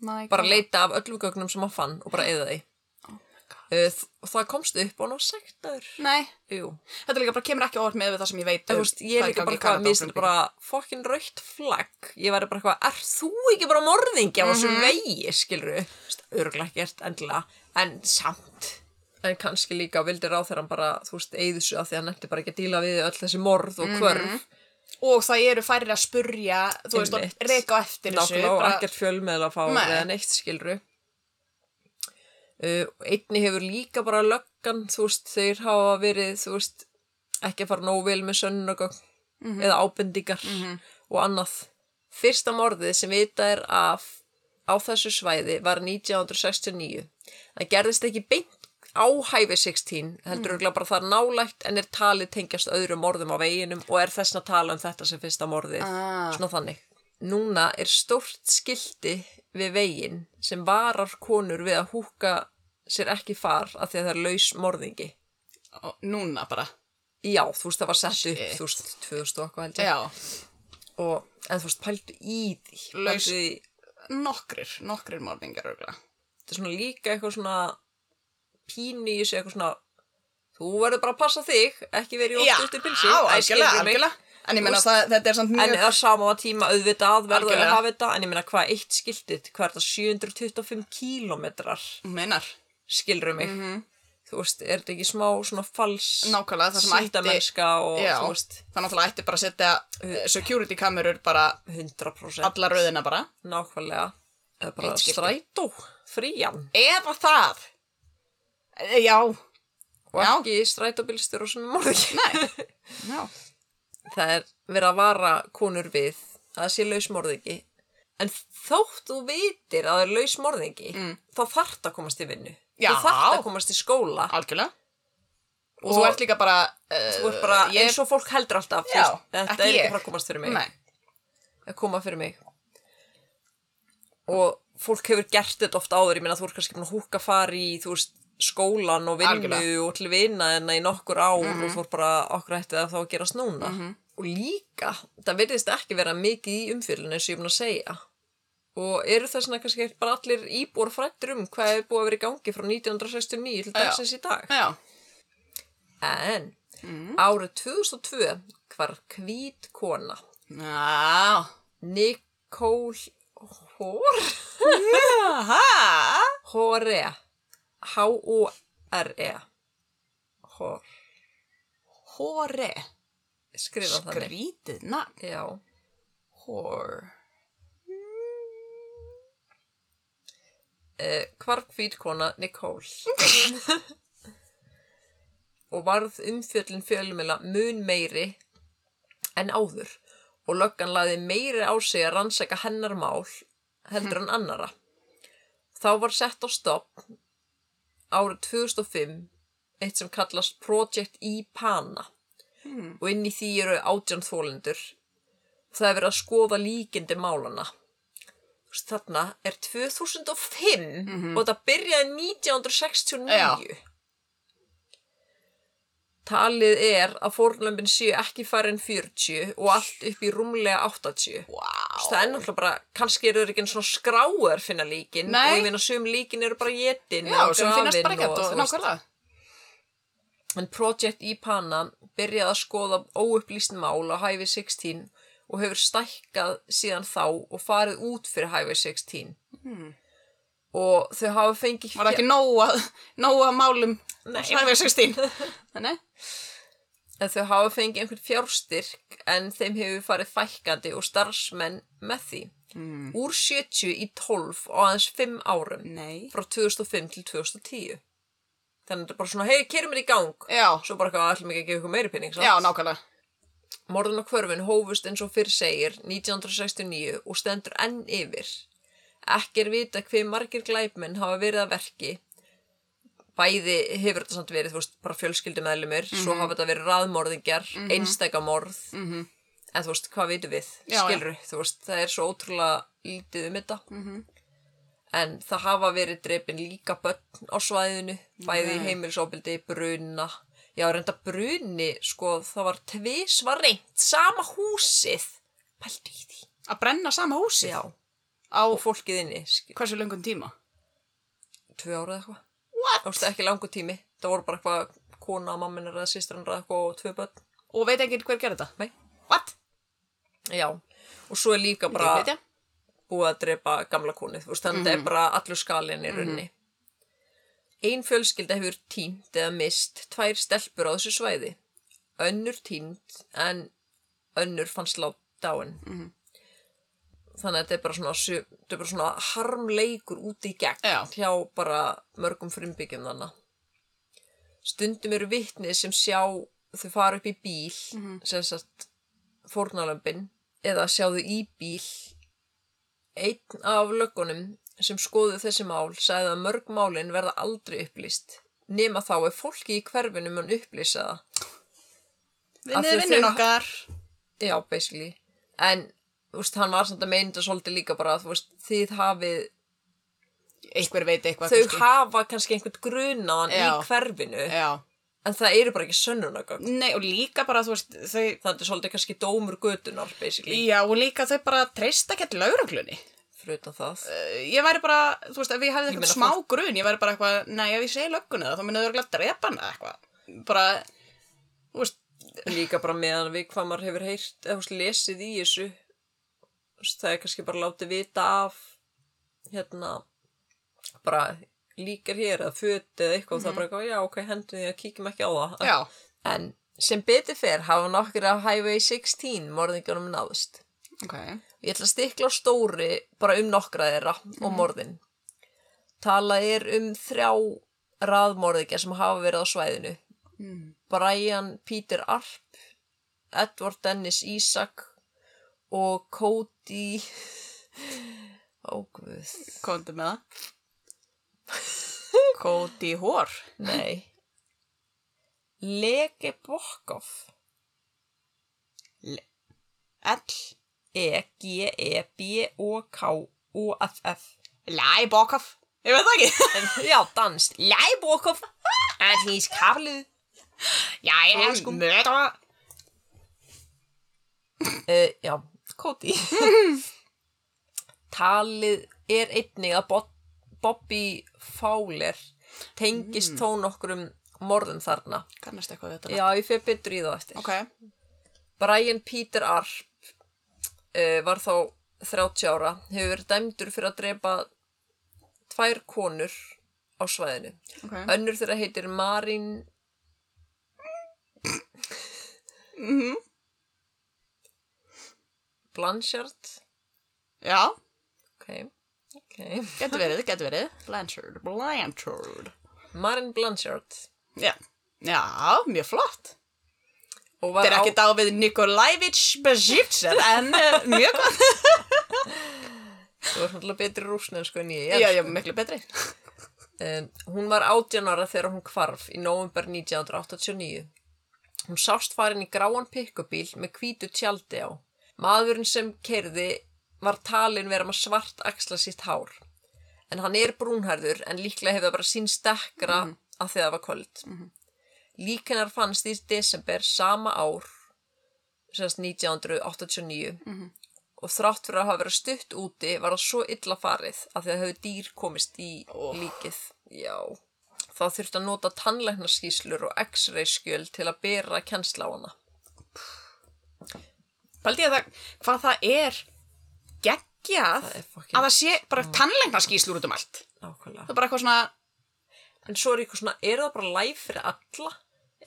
[SPEAKER 2] My
[SPEAKER 3] Bara
[SPEAKER 2] God.
[SPEAKER 3] leita af öllum gögnum sem hann fann og bara eyða því. Uh, þ- og það komst upp og ná sektar.
[SPEAKER 2] Nei,
[SPEAKER 3] Jú.
[SPEAKER 2] þetta líka bara kemur ekki óvart með við það sem ég veit.
[SPEAKER 3] Þú
[SPEAKER 2] um
[SPEAKER 3] veist, ég er
[SPEAKER 2] hvað
[SPEAKER 3] líka bara eitthvað,
[SPEAKER 2] gangi í
[SPEAKER 3] mér
[SPEAKER 2] Kanada og
[SPEAKER 3] finnst
[SPEAKER 2] Grindvík.
[SPEAKER 3] bara fokkin raukt flagg. Ég væri bara eitthvað, er þú ekki bara morðingi á þessum
[SPEAKER 2] Mhm.
[SPEAKER 3] vegi, skilru? Örgla ekkert, endilega, en samt. En kannski líka vildi ráð þegar hann bara, þú veist, eigðu svo að því að hann eftir bara ekki að díla við öll þessi morð
[SPEAKER 2] Mhm.
[SPEAKER 3] og hvörf.
[SPEAKER 2] og það eru færri að spurja þú veist,
[SPEAKER 3] Einmitt.
[SPEAKER 2] og reka á eftir þessu
[SPEAKER 3] Nákvæmlega og
[SPEAKER 2] bara-
[SPEAKER 3] ekkert fjölmiðla að fá
[SPEAKER 2] Nei.
[SPEAKER 3] eða neitt skilru. Uh, og einni hefur líka bara löggan, þú veist, þeir hafa verið, þú veist, ekki að fara nóg vel með sönnugögn
[SPEAKER 2] Mhm.
[SPEAKER 3] eða ábendingar og annað. Fyrsta morðið sem vitað er af á þessu svæði var 1969. Það gerðist ekki beint á hæfi 16,
[SPEAKER 2] Mhm.
[SPEAKER 3] heldur mm. bara þar nálægt en er talið tengjast öðrum morðum á veginum og er þessna tala um þetta sem fyrsta morðið
[SPEAKER 2] Ah.
[SPEAKER 3] svona þannig. Núna er stórt skilti við veginn sem varar konur við að húka sér ekki far af því að það er laus morðingi.
[SPEAKER 2] Ó, núna bara
[SPEAKER 3] Já, þú veist, það var sett upp,
[SPEAKER 2] Shit.
[SPEAKER 3] þú veist, 2000 og eitthvað held ég.
[SPEAKER 2] já.
[SPEAKER 3] Og, en þú veist, pældu í því.
[SPEAKER 2] Laus-
[SPEAKER 3] Pældu í,
[SPEAKER 2] nokkrir, nokkrir morningar örugglega.
[SPEAKER 3] þetta er svona líka eitthvað svona pínu í þessu eitthvað svona, þú verður bara að passa þig, ekki verið í
[SPEAKER 2] já,
[SPEAKER 3] ótt út í pilsi.
[SPEAKER 2] á,
[SPEAKER 3] Æ, skilurðu
[SPEAKER 2] algjörlega,
[SPEAKER 3] mig?
[SPEAKER 2] algjörlega en ég menna
[SPEAKER 3] Úst-
[SPEAKER 2] það, þetta er samt
[SPEAKER 3] En
[SPEAKER 2] mjög
[SPEAKER 3] það sama var tíma auðvitað að verður að
[SPEAKER 2] Algjörlega.
[SPEAKER 3] hafa þetta, en ég meina hvað eitt skiltið, hvað er það 725 kílómetrar?
[SPEAKER 2] meinar,
[SPEAKER 3] skilru mig þú veist, er þetta ekki smá svona fals
[SPEAKER 2] Mhm. nákvæmlega það sem ætti
[SPEAKER 3] sýndamennska og
[SPEAKER 2] já,
[SPEAKER 3] þú veist
[SPEAKER 2] það náttúrulega ætti bara að setja eh, security kamerur bara
[SPEAKER 3] 100%
[SPEAKER 2] alla rauðina bara
[SPEAKER 3] nákvæmlega eða bara
[SPEAKER 2] Eitt skipti.
[SPEAKER 3] strætó, frían
[SPEAKER 2] eða það Eh, já,
[SPEAKER 3] og
[SPEAKER 2] Já.
[SPEAKER 3] ekki strætóbílstur og svona morði
[SPEAKER 2] nei já.
[SPEAKER 3] það er verið að vara konur við að það sé lausmorðingi en þótt þú vitir að það er lausmorðingi mm. þá þarft að komast í vinnu
[SPEAKER 2] Já.
[SPEAKER 3] þú þarft að komast í skóla
[SPEAKER 2] algjörlega og,
[SPEAKER 3] Og-
[SPEAKER 2] þú ert líka bara, uh,
[SPEAKER 3] þú ert bara
[SPEAKER 2] ég,
[SPEAKER 3] eins og fólk heldur alltaf þú
[SPEAKER 2] Já,
[SPEAKER 3] veist, þetta
[SPEAKER 2] ekki
[SPEAKER 3] er ekki
[SPEAKER 2] ég.
[SPEAKER 3] bara að komast fyrir mig
[SPEAKER 2] nei,
[SPEAKER 3] að koma fyrir mig og fólk hefur gert þetta oft áður ég meina þú ert kannski búin að húka fari í þú veist skólan og vinnu
[SPEAKER 2] Algjörlega.
[SPEAKER 3] og til vinna þennan í nokkur ár og þú ert bara okkur ætti það þá að gerast núna og líka, það virðist ekki vera mikið í umfyllinu eins og ég er búin að segja og eru það svona kannski ekki bara allir íbúar frættur um hvað hefur búið að vera í gangi frá 1969 til
[SPEAKER 2] Já.
[SPEAKER 3] dagsins í dag
[SPEAKER 2] já
[SPEAKER 3] en árið 2002 var hvít kona
[SPEAKER 2] Já,
[SPEAKER 3] Nicole Hór
[SPEAKER 2] Aha.
[SPEAKER 3] Hore H-O-R-E Hor
[SPEAKER 2] Hóre.
[SPEAKER 3] Skrifa þannig
[SPEAKER 2] Skrítið nafn.
[SPEAKER 3] Já
[SPEAKER 2] Hór.
[SPEAKER 3] eh, Hvarf hvítkona Nicole Og varð umfjöllin fjölumila mun meiri en áður og löggan laði meiri á sig að rannsaka hennar mál heldur en annara. Þá var sett á stopp árið 2005 eitt sem kallast Project IPANA og inn í því eru átján þólendur það er verið að skoða líkindi málana Þú veist, þarna er 2005 og það byrjaði 1969
[SPEAKER 2] Já.
[SPEAKER 3] talið er að fórnlömbin séu ekki farin 40 og allt upp í rúmlega 80
[SPEAKER 2] Vá.
[SPEAKER 3] Þú veist, það er náttúrulega bara, kannski eru þeir ekki einu svona skráður finna líkin
[SPEAKER 2] Nei.
[SPEAKER 3] og ég meina sum líkin eru bara jetin
[SPEAKER 2] Já,
[SPEAKER 3] og
[SPEAKER 2] sem finnast
[SPEAKER 3] grafin
[SPEAKER 2] bara ekkert og
[SPEAKER 3] þú veist.
[SPEAKER 2] nákvæmlega.
[SPEAKER 3] En Project Ipana byrjaði að skoða óupplýst mál á hæfi 16 og hefur stækkað síðan þá og farið út fyrir Highway 16
[SPEAKER 2] Hmm.
[SPEAKER 3] og þau hafa fengið
[SPEAKER 2] Var ekki nóg að, nóg að málum
[SPEAKER 3] Nei.
[SPEAKER 2] Svæfið 16. Nei,
[SPEAKER 3] en þau hafa fengið einhvern fjárstyrk en þeim hefur farið fækkandi og starfsmenn með því.
[SPEAKER 2] Mm.
[SPEAKER 3] Úr 70 í 12 á aðeins 5 árum
[SPEAKER 2] Nei.
[SPEAKER 3] frá 2005 til 2010. Þannig að þetta er bara svona, hei, kerum við í gang.
[SPEAKER 2] Já,
[SPEAKER 3] Svo bara eitthvað, ætlum ekki að gefa ykkur meiri pening,
[SPEAKER 2] já, nákvæmlega.
[SPEAKER 3] Morðun á kvörfin hófust eins og fyrr segir 1969 og stendur enn yfir. Ekki er vita hver margir glæpmenn hafa verið að verki. Bæði hefur þetta samt verið, þú veist, bara fjölskyldumeðlumir, svo hafa þetta verið raðmorðingjar, mm -hmm. einstækamorð,
[SPEAKER 2] Mhm.
[SPEAKER 3] en þú veist, hvað vitum við?
[SPEAKER 2] Já, já.
[SPEAKER 3] Skilru, þú veist, það er svo ótrúlega lítið um þetta.
[SPEAKER 2] Mhm.
[SPEAKER 3] En það hafa verið dreipin líka börn á svæðinu, bæði
[SPEAKER 2] Nei.
[SPEAKER 3] í heimilisofbildi, bruna. Já, reynda bruni, sko, það var tvisvar reynt, sama húsið. Pældu í því.
[SPEAKER 2] Að brenna sama húsi
[SPEAKER 3] Já,
[SPEAKER 2] á
[SPEAKER 3] og fólkið inni, skil,
[SPEAKER 2] hversu löngum tíma?
[SPEAKER 3] tvö ára eða eitthvað. What? Það var ekki langur tími, það voru bara eitthvað kona, mamminar eða sýstrannar eða eitthvað og tvö börn.
[SPEAKER 2] Og veit ekki hver gerði þetta?
[SPEAKER 3] Nei.
[SPEAKER 2] What?
[SPEAKER 3] Já, og svo er líka bara...
[SPEAKER 2] Ég veit ég.
[SPEAKER 3] búið að drepa gamla konið, þú veist, þannig að
[SPEAKER 2] Mhm.
[SPEAKER 3] þetta er bara allur skalinn í runni. Ein fjölskylda hefur týnt eða mist tvær stelpur á þessu svæði. Önnur týnt en önnur fannst látt dáin.
[SPEAKER 2] Mhm.
[SPEAKER 3] Þannig að þetta er bara svona, sum- þetta er bara svona harmleikur út í gegn
[SPEAKER 2] Já.
[SPEAKER 3] hjá bara mörgum frumbyggjum þannig. Stundum eru vitnið sem sjá þau fara upp í bíl,
[SPEAKER 2] Mhm.
[SPEAKER 3] sem sagt fórnalömbin, eða sjá þau í bíl Einn af löggunum sem skoðu þessi mál sagði að mörg málin verða aldrei upplýst nema þá er fólki í hverfinu mun upplýsa það. Af því
[SPEAKER 2] Vinnið
[SPEAKER 3] þau-
[SPEAKER 2] vinnun okkar.
[SPEAKER 3] Já, basically. En, þú veist, hann var samt að meina þetta svolítið líka bara að, þú veist, þið hafið,
[SPEAKER 2] Einhver veit eitthvað.
[SPEAKER 3] þau
[SPEAKER 2] kannski.
[SPEAKER 3] hafa kannski einhvern grunaðan í
[SPEAKER 2] Já.
[SPEAKER 3] hverfinu,
[SPEAKER 2] Já.
[SPEAKER 3] en það eru bara ekki sönnunagögn.
[SPEAKER 2] Nei, og líka bara, þú veist, þau...
[SPEAKER 3] Það er svolítið kannski dómur götunar, basically,
[SPEAKER 2] Já, og líka þau bara treysta ekki allir lauruglunni.
[SPEAKER 3] fyrir utan það.
[SPEAKER 2] Eh, Ég væri bara, þú veist, ef ég hefði
[SPEAKER 3] Ég
[SPEAKER 2] eitthvað
[SPEAKER 3] meina,
[SPEAKER 2] smá grun, ég væri bara eitthvað, nei, ef ég segi löggunni það, þá minna þau örgulega að drepa hana eitthvað. Bara, þú veist,
[SPEAKER 3] Líka bara meðan við hvað maður hefur heyrt, eða þú veist, lesið í þessu, þú veist, það er kannski bara látið vita af, hérna, bara líkar hér eða föt eða eitthvað, mm -hmm. það er bara eitthvað, já, ok, hendum því að kíkjum ekki á það.
[SPEAKER 2] já.
[SPEAKER 3] En sem betur fer hafa nokkur af Highway 16 morðingunum náðust.
[SPEAKER 2] Ok.
[SPEAKER 3] Ég ætla að stikla á stóri bara um nokkra þeirra og morðin. Talað er um þrjá raðmorðingja sem hafa verið á svæðinu.
[SPEAKER 2] Mm.
[SPEAKER 3] Brian Peter Arp, Edward Dennis Isaac og Cody Ógvöð,
[SPEAKER 2] Kóndi með það. Kóndi hór.
[SPEAKER 3] nei Lege Bokov
[SPEAKER 2] Ell.
[SPEAKER 3] E E-G-E-B-O-K-O-F-F
[SPEAKER 2] Læ, bókaf. Ég veit það ekki.
[SPEAKER 3] Já, danst Lege Bokov and he's kafluð
[SPEAKER 2] Já, ég hef sko möta.
[SPEAKER 3] uh, Já, Cody Talið er einnig að Bob, Bobby Fowler tengist þó nokkrum morðum þarna
[SPEAKER 2] Kannast eitthvað við þetta.
[SPEAKER 3] Já, ég fer betur í það eftir
[SPEAKER 2] Ok.
[SPEAKER 3] Brian Peter Arp uh, var þá 30 ára hefur verið dæmdur fyrir að drepa tvær konur á svæðinu
[SPEAKER 2] Ok.
[SPEAKER 3] Önnur þeirra heitir Marín
[SPEAKER 2] Mhm.
[SPEAKER 3] Blanchard
[SPEAKER 2] Já,
[SPEAKER 3] Ok, ok.
[SPEAKER 2] getur verið, getur verið. Blanchard, Blanchard.
[SPEAKER 3] Marin Blanchard.
[SPEAKER 2] Já. Já, mjög flott.
[SPEAKER 3] Og
[SPEAKER 2] Þetta
[SPEAKER 3] var
[SPEAKER 2] er
[SPEAKER 3] á,
[SPEAKER 2] ekki á við Nikolajevich Bezhivtsev, en uh, mjög gott.
[SPEAKER 3] þú er náttúrulega betri rúsnensku en ég.
[SPEAKER 2] Já,
[SPEAKER 3] er.
[SPEAKER 2] já, miklu betri.
[SPEAKER 3] Um, hún var 18 ára þegar hún kvarf í november 1989. Hún sást farin í gráan pikkubíl með hvítu tjaldi á. Maðurinn sem kerði var talin vera með svart axla sitt hár. En hann er brúnhærður en líklega hefur það bara sín stekkra
[SPEAKER 2] Mhm.
[SPEAKER 3] mm að þegar það var kvöld. Mm Líkinar fannst í desember sama ár, sérst 1989.
[SPEAKER 2] Mhm.
[SPEAKER 3] Og þrátt fyrir að hafa verið stutt úti var það svo illa farið að því að höfðu dýr komist í
[SPEAKER 2] Oh.
[SPEAKER 3] líkið. Já. Þá þurfti að nota tannlæknarskíslur og x-ray skjöl til að bera kennsla á hana.
[SPEAKER 2] Paldi ég að það, hvað það er geggjað
[SPEAKER 3] Það er fucking-
[SPEAKER 2] að það sé bara tannleiknaskýslur út um allt. Það
[SPEAKER 3] nákvæmlega.
[SPEAKER 2] er bara eitthvað svona,
[SPEAKER 3] En svo er eitthvað svona, er það bara live fyrir alla?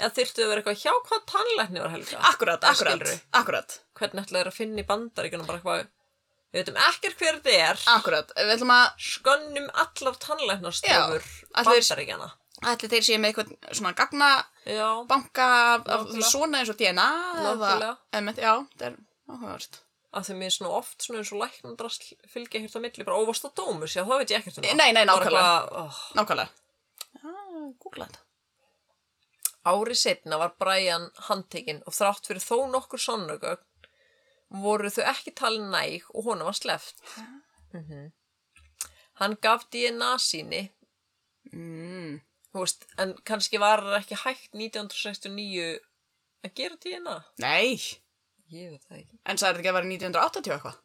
[SPEAKER 3] Eða þyrftu að vera eitthvað hjá hvað tannlækni var helga?
[SPEAKER 2] akkurat,
[SPEAKER 3] Eða
[SPEAKER 2] akkurat,
[SPEAKER 3] skilurðu?
[SPEAKER 2] akkurat,
[SPEAKER 3] Hvernig ætlaður að finna í bandaríkunum bara eitthvað, við veitum ekkert hver þið er,
[SPEAKER 2] akkurat. Við ætlum að,
[SPEAKER 3] skönnum allar tannlæknarstofur
[SPEAKER 2] Já, allir-
[SPEAKER 3] bandaríkjana.
[SPEAKER 2] ætli þeir séu með eitthvað svona gagna
[SPEAKER 3] Já,
[SPEAKER 2] banka af, af
[SPEAKER 3] Nákvæmlega.
[SPEAKER 2] svona eins og DNA eða,
[SPEAKER 3] Nákvæmlega.
[SPEAKER 2] eða, já, það er áhugavert.
[SPEAKER 3] að því mér er svona oft svona eins og læknandrast fylgja ekkert á milli, bara óvast á dómus, já það veit ég ekkert um það.
[SPEAKER 2] Nei, nei,
[SPEAKER 3] Bara
[SPEAKER 2] nákvæmlega.
[SPEAKER 3] eitthvað, oh,
[SPEAKER 2] Nákvæmlega. Ah, Google þetta.
[SPEAKER 3] Ári setna var Brian handtekinn og þrátt fyrir þó nokkur sannugögn voru þau ekki talin næg og honum var sleft. Mm Hann gaf DNA síni,
[SPEAKER 2] Mm.
[SPEAKER 3] þú veist, en kannski var það ekki hægt 1969 að gera DNA.
[SPEAKER 2] Nei,
[SPEAKER 3] Ég veit það ekki.
[SPEAKER 2] en sagði þetta ekki að vera 1980 eitthvað?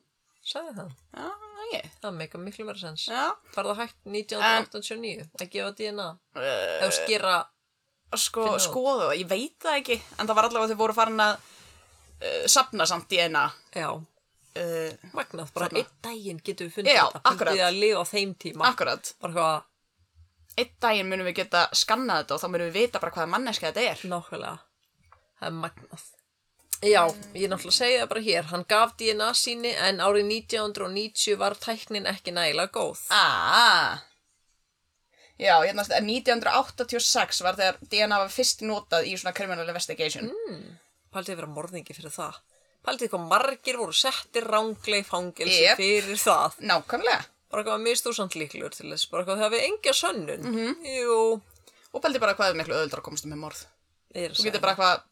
[SPEAKER 3] Sagði það.
[SPEAKER 2] Já, ég.
[SPEAKER 3] Það meika miklu verið sens.
[SPEAKER 2] Já.
[SPEAKER 3] Var það hægt 1989 að gefa DNA?
[SPEAKER 2] Uh,
[SPEAKER 3] Eða skera,
[SPEAKER 2] sko,
[SPEAKER 3] Finna það.
[SPEAKER 2] skoðu það, ég veit það ekki, en það var allavega þau voru farin að uh, sapna samt DNA.
[SPEAKER 3] já,
[SPEAKER 2] Uh,
[SPEAKER 3] magnað, bara
[SPEAKER 2] Þarna.
[SPEAKER 3] einn daginn getum við fundið
[SPEAKER 2] Já,
[SPEAKER 3] þetta. Fundið
[SPEAKER 2] akkurat.
[SPEAKER 3] þið að lifa á þeim tíma.
[SPEAKER 2] akkurat.
[SPEAKER 3] Bara hvað,
[SPEAKER 2] Einn daginn munum við geta skannað þetta og þá munum við vita bara hvaða manneska þetta er.
[SPEAKER 3] Nákvæmlega. Það er magnað. Já, ég er náttúrulega að segja það bara hér. Hann gaf DNA síni en árið 1990 var tæknin ekki nægilega góð.
[SPEAKER 2] Ah. Já, hérna, en 1986 var þegar DNA var fyrst notað í svona criminal investigation.
[SPEAKER 3] Paldið vera morðingi fyrir það. Paldið hvað margir voru settir ránglega í fangelsi
[SPEAKER 2] Yep.
[SPEAKER 3] fyrir það.
[SPEAKER 2] Nákvæmlega.
[SPEAKER 3] Bara hvað mist þú samt líklegur til þess. Bara hvað það hefði enga sönnun. Jú,
[SPEAKER 2] Og pældi bara hvað er miklu öðuldra að komast um með morð.
[SPEAKER 3] ég er að
[SPEAKER 2] Þú
[SPEAKER 3] segja.
[SPEAKER 2] getur bara hvað,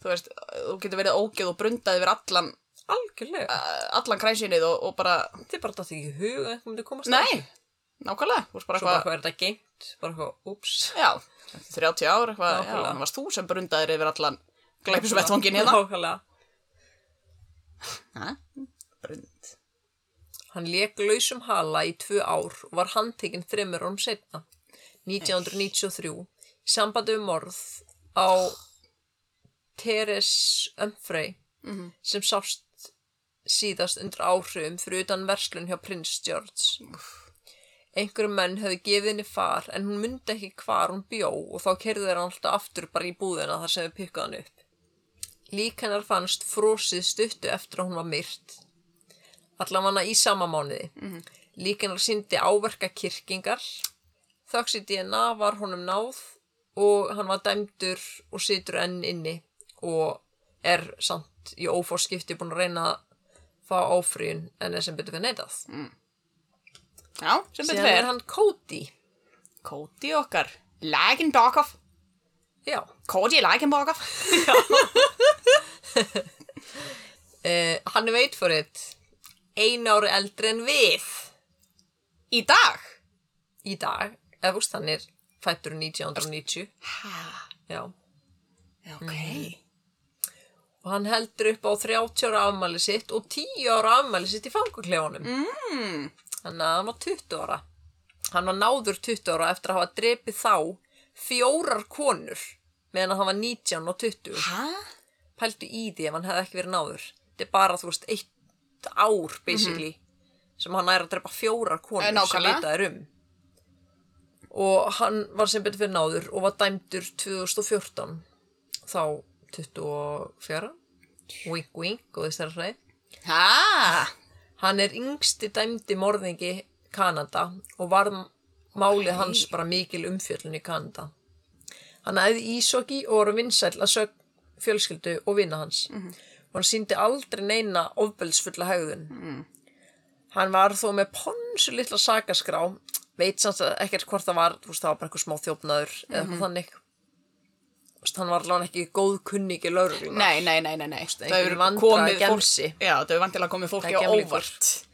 [SPEAKER 2] þú veist, þú getur verið ógeð og brundað yfir allan, eh,
[SPEAKER 3] Algjörlega.
[SPEAKER 2] allan kræsinnið og, og bara,
[SPEAKER 3] Þið bara dætti ekki í hug að eitthvað myndi komast að
[SPEAKER 2] nei,
[SPEAKER 3] þessu.
[SPEAKER 2] nákvæmlega. Þú veist bara
[SPEAKER 3] Svo bara
[SPEAKER 2] hvað,
[SPEAKER 3] hvað er þetta geimt? Bara hvað, úps.
[SPEAKER 2] Já, eftir 30 ár eitthvað, já,
[SPEAKER 3] Nákvæmlega.
[SPEAKER 2] þannig varst þú sem brundaðir yfir allan glæpisvettvangin hérna.
[SPEAKER 3] Nákvæmlega.
[SPEAKER 2] Ha? Brund.
[SPEAKER 3] Hann leik lausum hala í tvö ár og var handtekinn þreymur árum setna, 1993, í sambandi um morð á Teres Umfrey sem sást síðast undir áhrifum fyrir utan verslun hjá prins George. Einhverjum menn höfðu gefið henni far en hún myndi ekki hvar hún bjó og þá kerði þeir hann alltaf aftur bara í búðina þar sem við pikkaði hann upp. Lík hennar fannst frosið stuttu eftir að hún var myrt allavega í sama mánuði. Mm -hmm. Líkinar síndi áverka kirkingar, þöks í DNA var honum náð og hann var dæmdur og situr enn inni og er samt í ófórskipti búin að reyna að fá áfríun en er sem betur fyrir neitað.
[SPEAKER 2] Já, sem betur
[SPEAKER 3] Síðan er
[SPEAKER 2] fyrir.
[SPEAKER 3] Mm, hann Cody.
[SPEAKER 2] Kóti okkar. Lækin Bakov.
[SPEAKER 3] Já,
[SPEAKER 2] Kóti Lækin Bakov.
[SPEAKER 3] uh, hann er veit fyrir eitt einu ári eldri en við
[SPEAKER 2] Í dag.
[SPEAKER 3] í dag, ef úst hann er fættur 1990,
[SPEAKER 2] Ha,
[SPEAKER 3] já.
[SPEAKER 2] já, ok.
[SPEAKER 3] Mm. og hann heldur upp á 30 ára afmæli sitt og 10 ára afmæli sitt í fanguklefunum. Mm. Þannig að hann var 20 ára. Hann var náður 20 ára eftir að hafa drepið þá fjórar konur meðan að hann var 19 og 20.
[SPEAKER 2] Ha?
[SPEAKER 3] Pældu í því ef hann hefði ekki verið náður. Þetta er bara, þú veist, eitt ár, basically, sem hann er að drepa fjórar konur
[SPEAKER 2] Mhm. Eh,
[SPEAKER 3] sem
[SPEAKER 2] nákvæmlega.
[SPEAKER 3] vitað er um. Og hann var sem betur fyrir náður og var dæmdur 2014, þá 24, wink wink og þessar hreif.
[SPEAKER 2] Ha?
[SPEAKER 3] Hann er yngsti dæmdi morðingi Kanada og var málið hans bara mikil umfjöllun í Kanada. Hann æði ísokki og var vinsæll að sög fjölskyldu og vina hans.
[SPEAKER 2] Mhm.
[SPEAKER 3] Og hann síndi aldrei neina ofbeldsfulla haugðun.
[SPEAKER 2] Mhm.
[SPEAKER 3] Hann var þó með ponsu litla sakaskrá, veit samt að ekkert hvort það var, þú veist það var bara eitthvað smá þjófnaður eða eitthvað
[SPEAKER 2] Mhm.
[SPEAKER 3] þannig. Þú veist, hann var alveg ekki góð kunningi laurugluna.
[SPEAKER 2] Nei, nei, nei, nei, nei. Það
[SPEAKER 3] einhver
[SPEAKER 2] hefur
[SPEAKER 3] vandræða
[SPEAKER 2] komið fólk.
[SPEAKER 3] gemsi.
[SPEAKER 2] Já, það hefur vantilega komið
[SPEAKER 3] Það
[SPEAKER 2] fólki
[SPEAKER 3] er
[SPEAKER 2] á
[SPEAKER 3] gemlingur.
[SPEAKER 2] óvart.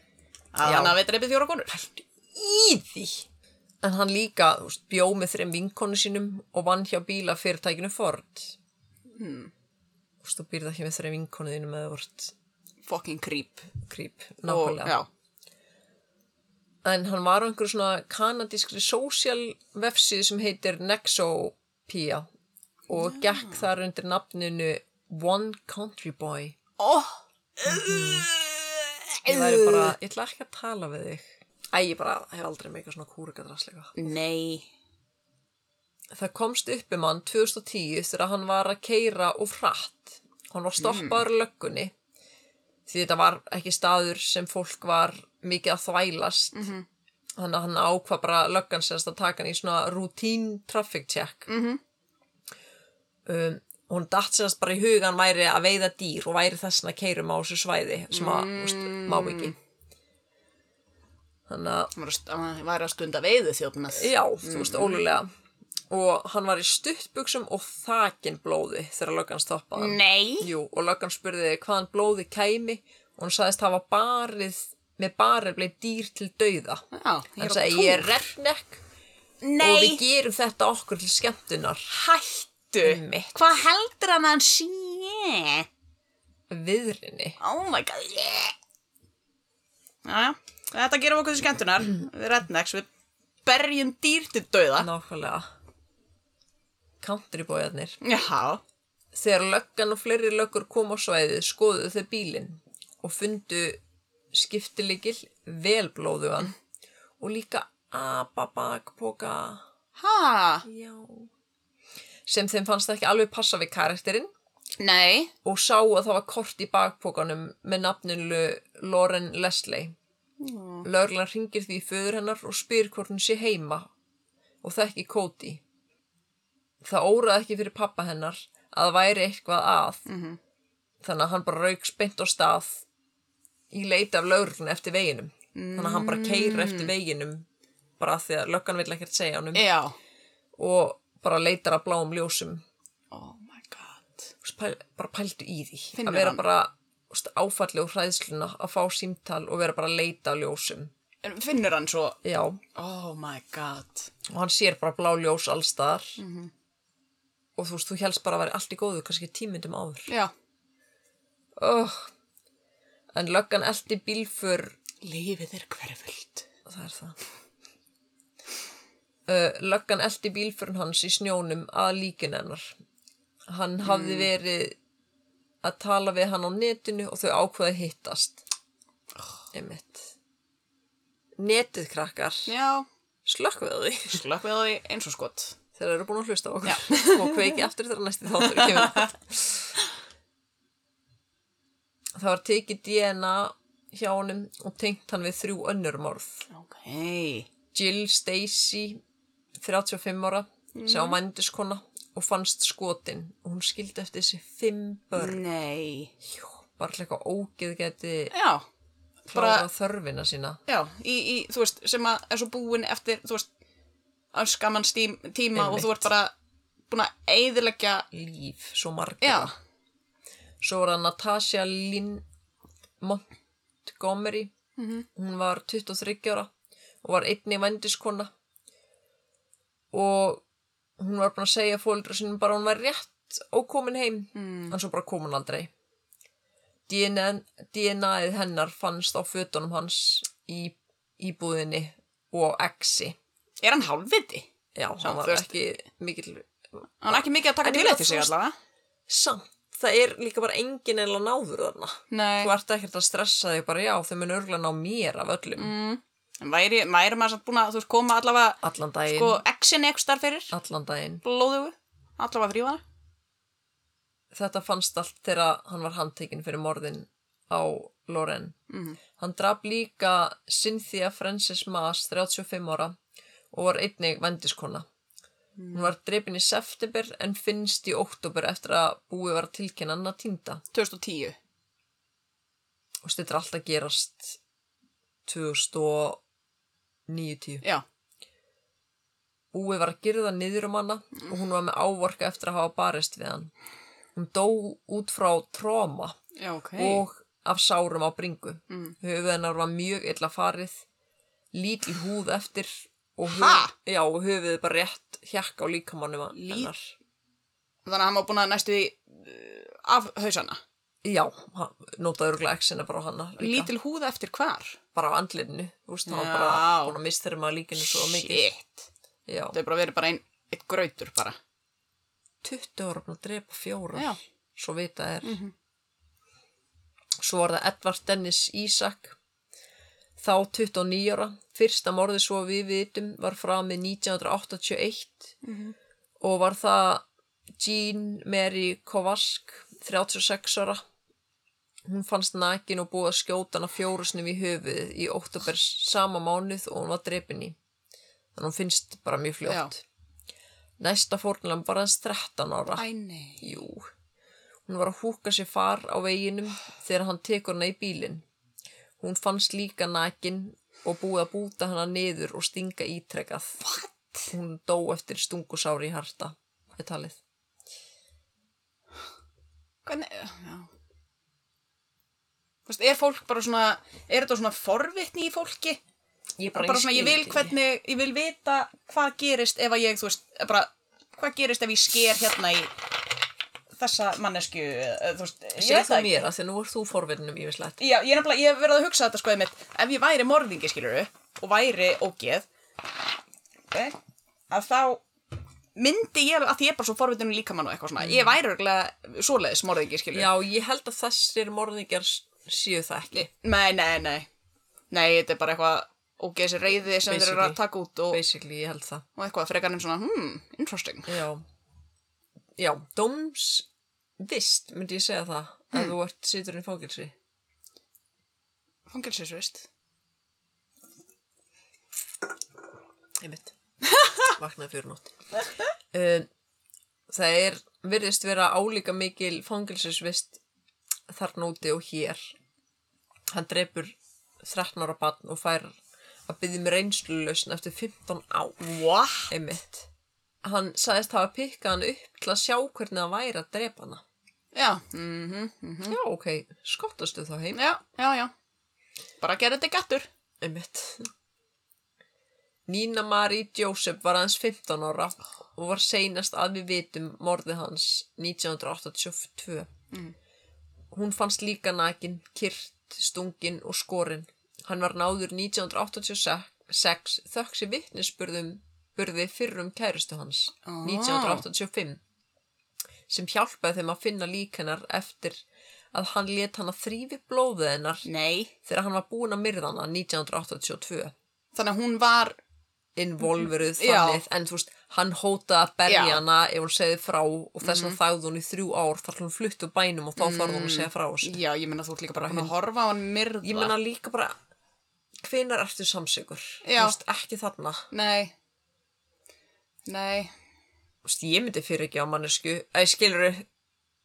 [SPEAKER 3] Já.
[SPEAKER 2] Að hann hafi dreipið fjóra konur.
[SPEAKER 3] í því. En hann líka þú veist, bjó með þreim vinkonu sínum og vann hjá bílafyrirtækinu Ford. Hmm. Þú veist, þú býrð ekki með þreim vinkonu þínu með vort
[SPEAKER 2] Fucking creep.
[SPEAKER 3] krýp,
[SPEAKER 2] Og-
[SPEAKER 3] nákvæmlega. En hann var á einhverju svona kanadískri social vefsið sem heitir Nexopia og gekk þar undir nafninu One Country Boy.
[SPEAKER 2] Já. Ó,
[SPEAKER 3] Ég væri bara, ég ætla ekki að tala við þig. Æ, ég bara hef aldrei meika svona kúrikadrasleika.
[SPEAKER 2] Nei.
[SPEAKER 3] Það komst upp um hann 2010 þegar hann var að keira og frætt. Hann var stoppaður mm. löggunni því þetta var ekki staður sem fólk var mikið að þvælast. -hmm. Þannig að hann ákvað bara löggan semst að taka hann í svona routine traffic check. Mm -hmm. um, og hún datt semst bara í hugan væri að veiða dýr og væri þess að keirum á þessu svæði sem að, mm. úst, má ekki. Þannig að
[SPEAKER 2] Hann var að st- hann var að stunda veiðu þjófnað.
[SPEAKER 3] Já, þú veist, ólulega. Og hann var í stuttbuxum og þakin blóði þegar löggan stoppaði hann.
[SPEAKER 2] Nei.
[SPEAKER 3] Jú, og löggan spurði hvaðan blóði kæmi og hún sagðist hafa barið, með barið bleið dýr til dauða.
[SPEAKER 2] Já, ég
[SPEAKER 3] Hann
[SPEAKER 2] er á
[SPEAKER 3] sagði, ég er redneck og við
[SPEAKER 2] Nei,
[SPEAKER 3] gerum þetta okkur til skemmtunar.
[SPEAKER 2] hættu.
[SPEAKER 3] Mitt.
[SPEAKER 2] Hvað heldur hann að hann sé?
[SPEAKER 3] Viðrinni.
[SPEAKER 2] Oh my god, yeah. Jæja, þetta gerum okkur til skemmtunar. Við rednecks, við berjum dýr til dauða.
[SPEAKER 3] Nákvæmlega. Countrybójarnir.
[SPEAKER 2] Já.
[SPEAKER 3] Þegar löggan og fleiri löggur kom á svæðið skoðuðu þau bílinn og fundu skiptilegil velblóðugan og líka ababakpoka
[SPEAKER 2] Ha?
[SPEAKER 3] já. sem þeim fannst ekki alveg passa við karakterinn
[SPEAKER 2] Nei.
[SPEAKER 3] og sá að það var kort í bakpokanum með nafninu Lauren Leslie. Lörlan ringir því í föður hennar og spyr hvort hún sé heima og þekki Cody. Það óraði ekki fyrir pappa hennar að það væri eitthvað að. -hmm. Þannig að hann bara rauk spennt á stað í leita af lörlun eftir veginum. Þannig að hann bara keira eftir veginum bara af því að löggan vill ekkert segja honum
[SPEAKER 2] Já.
[SPEAKER 3] og bara leitar að bláum ljósum
[SPEAKER 2] Oh my god.
[SPEAKER 3] Þú veist, pæl, bara pældu í því
[SPEAKER 2] Finnur
[SPEAKER 3] að vera
[SPEAKER 2] hann?
[SPEAKER 3] bara þú veist, áfalli og hræðsluna að fá símtal og vera bara að leita á ljósum
[SPEAKER 2] En Finnur hann svo?
[SPEAKER 3] já, og
[SPEAKER 2] Oh my god.
[SPEAKER 3] hann sér bara blá ljós allstaðar -hmm.
[SPEAKER 2] Mhm.
[SPEAKER 3] og þú veist, þú helst bara að vera allt í góðu kannski tímyndum áður
[SPEAKER 2] Já.
[SPEAKER 3] oh. en löggan eldi bílför
[SPEAKER 2] Lífið er hverfult.
[SPEAKER 3] það er það uh, löggan eldi bílförn hans í snjónum að líkin hennar hann hafði verið að tala við hann á netinu og þau ákvaði hittast einmitt netið krakkar
[SPEAKER 2] Já.
[SPEAKER 3] slökkveðu því
[SPEAKER 2] Slökkvið á því eins og skot.
[SPEAKER 3] þeir eru búin að hlusta á okkur og kveiki aftur þegar næsti þáttur kemur það var tekið DNA hjá honum og tengt hann við þrjú önnur morð
[SPEAKER 2] Ok.
[SPEAKER 3] Jill Stacy, 35 ára, sem var vændiskona og fannst skotin og hún skildi eftir þessi fimm börn.
[SPEAKER 2] Mm. Nei.
[SPEAKER 3] Jú, bara til eitthvað ógeð geti
[SPEAKER 2] Já.
[SPEAKER 3] klára þörfina sína.
[SPEAKER 2] Já, í, í, þú veist, sem að er svo búin eftir, þú veist, öskamann stím, tíma og
[SPEAKER 3] Einmitt.
[SPEAKER 2] þú ert bara búin að eyðileggja,
[SPEAKER 3] Líf, svo marga.
[SPEAKER 2] já,
[SPEAKER 3] Svo var það Natasha Lynn Montgomery, hún var 23 ára og var einni vændiskona og hún var bara að segja fóldra sinni bara að hún var rétt og komin heim, en svo bara kom hún aldrei. DNA, DNAið hennar fannst á fötunum hans í íbúðinni og exi.
[SPEAKER 2] er hann hálfviti?
[SPEAKER 3] Já, hann var
[SPEAKER 2] þú veist-
[SPEAKER 3] ekki mikill
[SPEAKER 2] Hann er ekki mikið að
[SPEAKER 3] En
[SPEAKER 2] taka
[SPEAKER 3] ég
[SPEAKER 2] til
[SPEAKER 3] meina,
[SPEAKER 2] eftir
[SPEAKER 3] þú
[SPEAKER 2] sig
[SPEAKER 3] veist-
[SPEAKER 2] allavega.
[SPEAKER 3] samt. Það er líka bara engin eða náður þarna.
[SPEAKER 2] Nei,
[SPEAKER 3] Þú ert ekkert að stressa þig bara, já, þau mun örgla ná mér af öllum.
[SPEAKER 2] en væri, væri maður samt búin að, þú veist, koma allavega,
[SPEAKER 3] Allan daginn,
[SPEAKER 2] sko, exin eitthvað starf fyrir,
[SPEAKER 3] allan daginn.
[SPEAKER 2] blóðugu, allavega frífana.
[SPEAKER 3] Þetta fannst allt þegar hann var handtekinn fyrir morðin á Loren. Mm. Hann draf líka Cynthia Frances Maas, 35 ára, og var einnig vendiskona. Hún var drefin í september en finnst í oktober eftir að búið var að tilkynna hann að týnda.
[SPEAKER 2] 2010.
[SPEAKER 3] Og þetta er allt að gerast 2009 10
[SPEAKER 2] Já,
[SPEAKER 3] Búið var að gyrða niður um hana og hún var með ávorka eftir að hafa barist við hann. Hún dó út frá tróma
[SPEAKER 2] já, ok.
[SPEAKER 3] og af sárum á bringu. Mm. Höfuð hennar var mjög illa farið, lítil húð eftir og,
[SPEAKER 2] Ha?
[SPEAKER 3] já, og höfuðið bara rétt hjakk á líkamannum hennar.
[SPEAKER 2] Þannig að hann var búin að næstu því uh, af hausana.
[SPEAKER 3] Já, hann- notaði örgulega exina bara á hana líka.
[SPEAKER 2] Lítil húð eftir hvar?
[SPEAKER 3] Bara á andlinu, þú veist, hann var
[SPEAKER 2] Já.
[SPEAKER 3] bara búin að mistherma líkinu svo mikið.
[SPEAKER 2] Shit.
[SPEAKER 3] Já,
[SPEAKER 2] Það er bara verið bara ein, eitt grautur bara.
[SPEAKER 3] 20 ára búin að drepa fjórar,
[SPEAKER 2] Já.
[SPEAKER 3] svo vita er. Svo var það Edvard Dennis Ísak, þá 29 ára. Fyrsta morði svo við vitum var framið 1981 og var það Jean Mary Kovask, 36 ára. Hún fannst nakin og búið að skjóta hana fjórusnum í höfuð í óttúber sama mánuð og hún var drepin í. Þannig að hún finnst bara mjög fljótt. Næsta fórnlega bara hans 13 ára.
[SPEAKER 2] Æ, nei.
[SPEAKER 3] Jú, hún var að húka sér far á veginum þegar hann tekur hana í bílinn. Hún fannst líka nakin og búið að búta hana niður og stinga ítrekað. What? Hún dó eftir stungusári í harta, er talið.
[SPEAKER 2] Hvernig, já. Þú veist, er fólk bara svona, er þetta svona forvitni í fólki?
[SPEAKER 3] Ég
[SPEAKER 2] Bara, svona, ég vil hvernig, ég vil vita hvað gerist ef að ég, þú veist, bara, hvað gerist ef ég sker hérna í þessa mannesku, eh, þú veist, ég
[SPEAKER 3] Segð
[SPEAKER 2] veit
[SPEAKER 3] þú
[SPEAKER 2] það ekki.
[SPEAKER 3] mér að því að nú er þú forvinnum yfirslegt.
[SPEAKER 2] Já, ég er nefnilega, ég hef verið að hugsa þetta sko einmitt, ef ég væri morðingi, skiluru, og væri ógeð, eh, að þá myndi ég, að því ég er bara svo forvitinu líkamann og eitthvað svona, ég væri örgulega svoleiðis morðingi, skiluru.
[SPEAKER 3] Já, ég held að þessir morðingar séu það ekki.
[SPEAKER 2] Nei, nei, nei, nei, þetta er bara eitthvað ógeðs reyði sem þeir eru
[SPEAKER 3] Basically.
[SPEAKER 2] að taka út og,
[SPEAKER 3] Basically, ég held það.
[SPEAKER 2] og eitthvað frekar en svona, hmm, interesting.
[SPEAKER 3] Já, já, dómsvist myndi ég segja það
[SPEAKER 2] Hmm.
[SPEAKER 3] að þú ert situr í fangilsi.
[SPEAKER 2] Fangelsisvist.
[SPEAKER 3] Einmitt. Vaknaði fyrir nótt. Um, það er, virðist vera álíka mikil fangilsisvist þarna úti og hér. Hann drepur 13 ára barn og fær að byggja mér reynslulausn eftir 15 ár.
[SPEAKER 2] What?
[SPEAKER 3] Einmitt. Hann sagðist hafa pikkað hann upp til að sjá hvernig það væri að drepa hana.
[SPEAKER 2] Já, mhm, mhm,
[SPEAKER 3] Já, ok, skottastu þá heim.
[SPEAKER 2] já, já, já. Bara gera þetta gættur.
[SPEAKER 3] Einmitt. Nína Marie Joseph var aðeins 15 ára og var seinast að við vitum morðið hans 1982. Hún fannst líka nakin, kyrt, stungin og skorinn. Hann var náður 1986 þöggs í vittnisspurðum burði fyrrum kærustu hans
[SPEAKER 2] Ah.
[SPEAKER 3] 1985 sem hjálpaði þeim að finna lík hennar eftir að hann let hann að þrýfi blóðið hennar
[SPEAKER 2] Nei.
[SPEAKER 3] þegar hann var búinn að myrða hana 1982
[SPEAKER 2] Þannig að hún var
[SPEAKER 3] involveruð
[SPEAKER 2] Mhm, Já.
[SPEAKER 3] þannig en þú veist, hann hótaði að berja
[SPEAKER 2] Já. Mhm.
[SPEAKER 3] hana ef hún segði frá og þess vegna þagði hún í þrjú ár þar til hún flutt úr bænum og þá þarf hún að segja frá þessu
[SPEAKER 2] Já, ég meina þú ert líka bara að horfa á hann myrða.
[SPEAKER 3] ég meina líka bara hvenar ertu samsökur
[SPEAKER 2] Já.
[SPEAKER 3] ekki þarna
[SPEAKER 2] Nei. Nei.
[SPEAKER 3] Þú veist, ég myndi fyrir ekki á mannesku eða skilur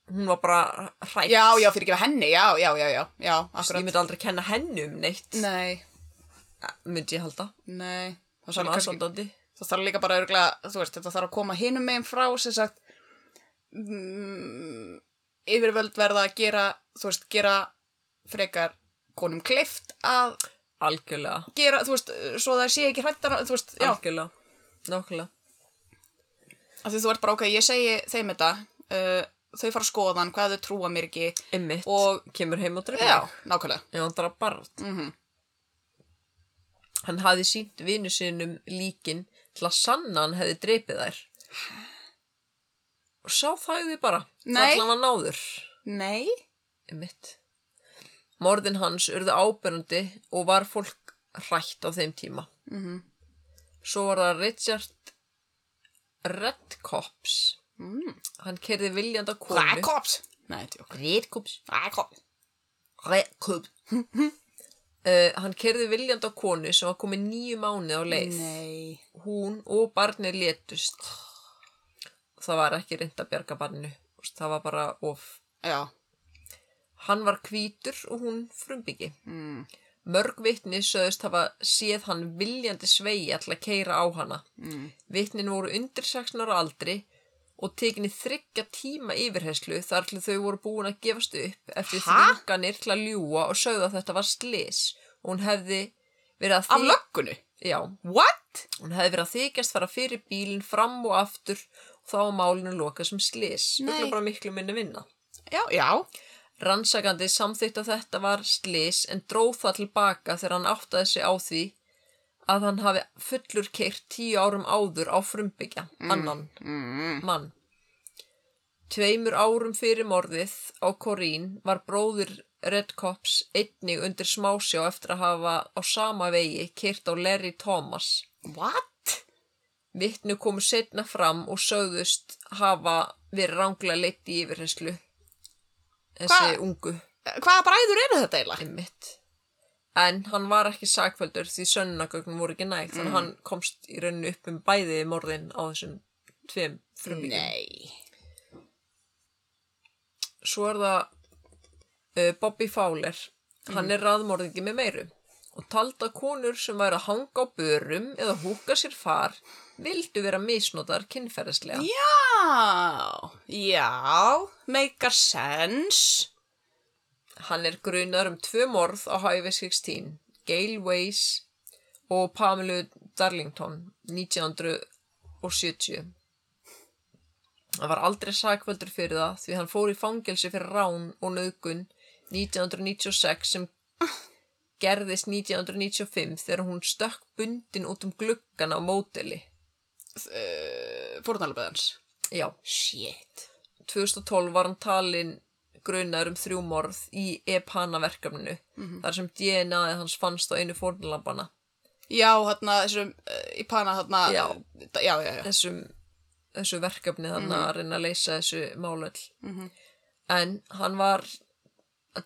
[SPEAKER 3] hún var bara hrætt
[SPEAKER 2] Já, já, fyrir ekki að henni, já, já, já, já, já,
[SPEAKER 3] ég
[SPEAKER 2] akkurat.
[SPEAKER 3] myndi aldrei kenna henni um neitt
[SPEAKER 2] Nei,
[SPEAKER 3] myndi ég halda
[SPEAKER 2] nei. Það
[SPEAKER 3] sem
[SPEAKER 2] þarf kannski,
[SPEAKER 3] aðsandandi
[SPEAKER 2] það þarf líka bara örgulega, þú veist, þetta þarf að koma hinum meginn frá, sem sagt, mm, yfirvöld verða að gera, þú veist, gera frekar konum kleift að
[SPEAKER 3] algjörlega
[SPEAKER 2] gera, þú veist, svo það sé ekki hrættar, þú veist, já.
[SPEAKER 3] algjörlega, nákvæmlega
[SPEAKER 2] Af því þú ert bara, ok, ég segi þeim þetta, uh, þau fara að skoða hann, hvað þau trúa mér ekki.
[SPEAKER 3] Einmitt,
[SPEAKER 2] Og-
[SPEAKER 3] kemur heim og drefnir.
[SPEAKER 2] Já, nákvæmlega.
[SPEAKER 3] Já, hann draf barð.
[SPEAKER 2] Mhm.
[SPEAKER 3] Hann hafði sínt vinu sinum líkin til að sanna hann hefði dreipið þær. Og sá þagði bara.
[SPEAKER 2] Nei.
[SPEAKER 3] Allan hann náður.
[SPEAKER 2] Nei?
[SPEAKER 3] Einmitt. Morðin hans urðu ábyrjandi og var fólk hrætt á þeim tíma.
[SPEAKER 2] Mhm.
[SPEAKER 3] Svo var það Richard Redkops.
[SPEAKER 2] Mm.
[SPEAKER 3] Hann kerði viljanda konu.
[SPEAKER 2] Hvað er kops? Nei, þetta er okkur.
[SPEAKER 3] Redkops.
[SPEAKER 2] Hvað er kops?
[SPEAKER 3] Rekum uh, Hann kerði viljandi á konu sem var komið nýju mánuð á leið
[SPEAKER 2] Nei.
[SPEAKER 3] Hún og barnið létust Það var ekki reynd að bjarga barninu Þú veist, Það var bara of
[SPEAKER 2] Já.
[SPEAKER 3] Hann var hvítur og hún frumbyggi
[SPEAKER 2] Mm.
[SPEAKER 3] Mörg vitni sögðust hafa séð hann viljandi svegi til að keira á hana
[SPEAKER 2] Mm.
[SPEAKER 3] Vitnin voru undir 16 ára aldri og tekinni þryggja tíma yfirherslu þar til þau voru búin að gefast upp eftir
[SPEAKER 2] Ha?
[SPEAKER 3] þringanir til að ljúa og sögðu að þetta var slis og hún hefði verið að
[SPEAKER 2] Af
[SPEAKER 3] þy-
[SPEAKER 2] löggunni?
[SPEAKER 3] Já,
[SPEAKER 2] What?
[SPEAKER 3] hún hefði verið að þykjast fara fyrir bílinn fram og aftur og þá var málinu lokað sem slis
[SPEAKER 2] Nei.
[SPEAKER 3] Örugglega bara miklu minni vinna
[SPEAKER 2] Já, já.
[SPEAKER 3] Rannsakandi samþýtt að þetta var slis en dróð það tilbaka þegar hann áttaði sig á því að hann hafi fullur keirt tíu árum áður á frumbyggja, annan
[SPEAKER 2] Mm.
[SPEAKER 3] mann. Tveimur árum fyrir morðið á Korín var bróðir Red Cops einnig undir smásjá eftir að hafa á sama vegi kyrt á Larry Thomas.
[SPEAKER 2] What?
[SPEAKER 3] Vittnu komu setna fram og sögðust hafa verið ránglega leitt í yfirherslu. Þessi
[SPEAKER 2] Hva?
[SPEAKER 3] ungu
[SPEAKER 2] Hvaða bræður eru þetta eiginlega?
[SPEAKER 3] einmitt. En hann var ekki sakfældur því sönnunagögnum voru ekki nægt. Þannig að hann komst í rauninu upp um bæði morðin á þessum tveim frumvíkjum.
[SPEAKER 2] Nei.
[SPEAKER 3] svo er það uh, Bobby Fowler hann er raðmorðingi með meiru og talda konur sem væri að hanga á börum eða húka sér far vildu vera misnotar kynferðislega
[SPEAKER 2] Já, já, meikar sens.
[SPEAKER 3] hann er grunar um tvö morð á HV 16 Gail Ways og Pamela Darlington 1970 hann var aldrei sakvöldur fyrir það því hann fór í fangelsi fyrir rán og nöðgun 1996 sem gerðist 1995 þegar hún stökk bundin út um gluggan á móteli
[SPEAKER 2] Fórnalaböðans.
[SPEAKER 3] já,
[SPEAKER 2] Shit.
[SPEAKER 3] 2012 var hann talin grunar um þrjú morð í EPANA verkefninu
[SPEAKER 2] Mhm.
[SPEAKER 3] þar sem DNA-ið hans fannst á einu fórnlampana
[SPEAKER 2] Já, hérna, þessum, eh, í pana, hérna,
[SPEAKER 3] Já.
[SPEAKER 2] já, já, já.
[SPEAKER 3] þessum, þessu verkefni þannig
[SPEAKER 2] Mhm.
[SPEAKER 3] að reyna að leysa þessu málöll en hann var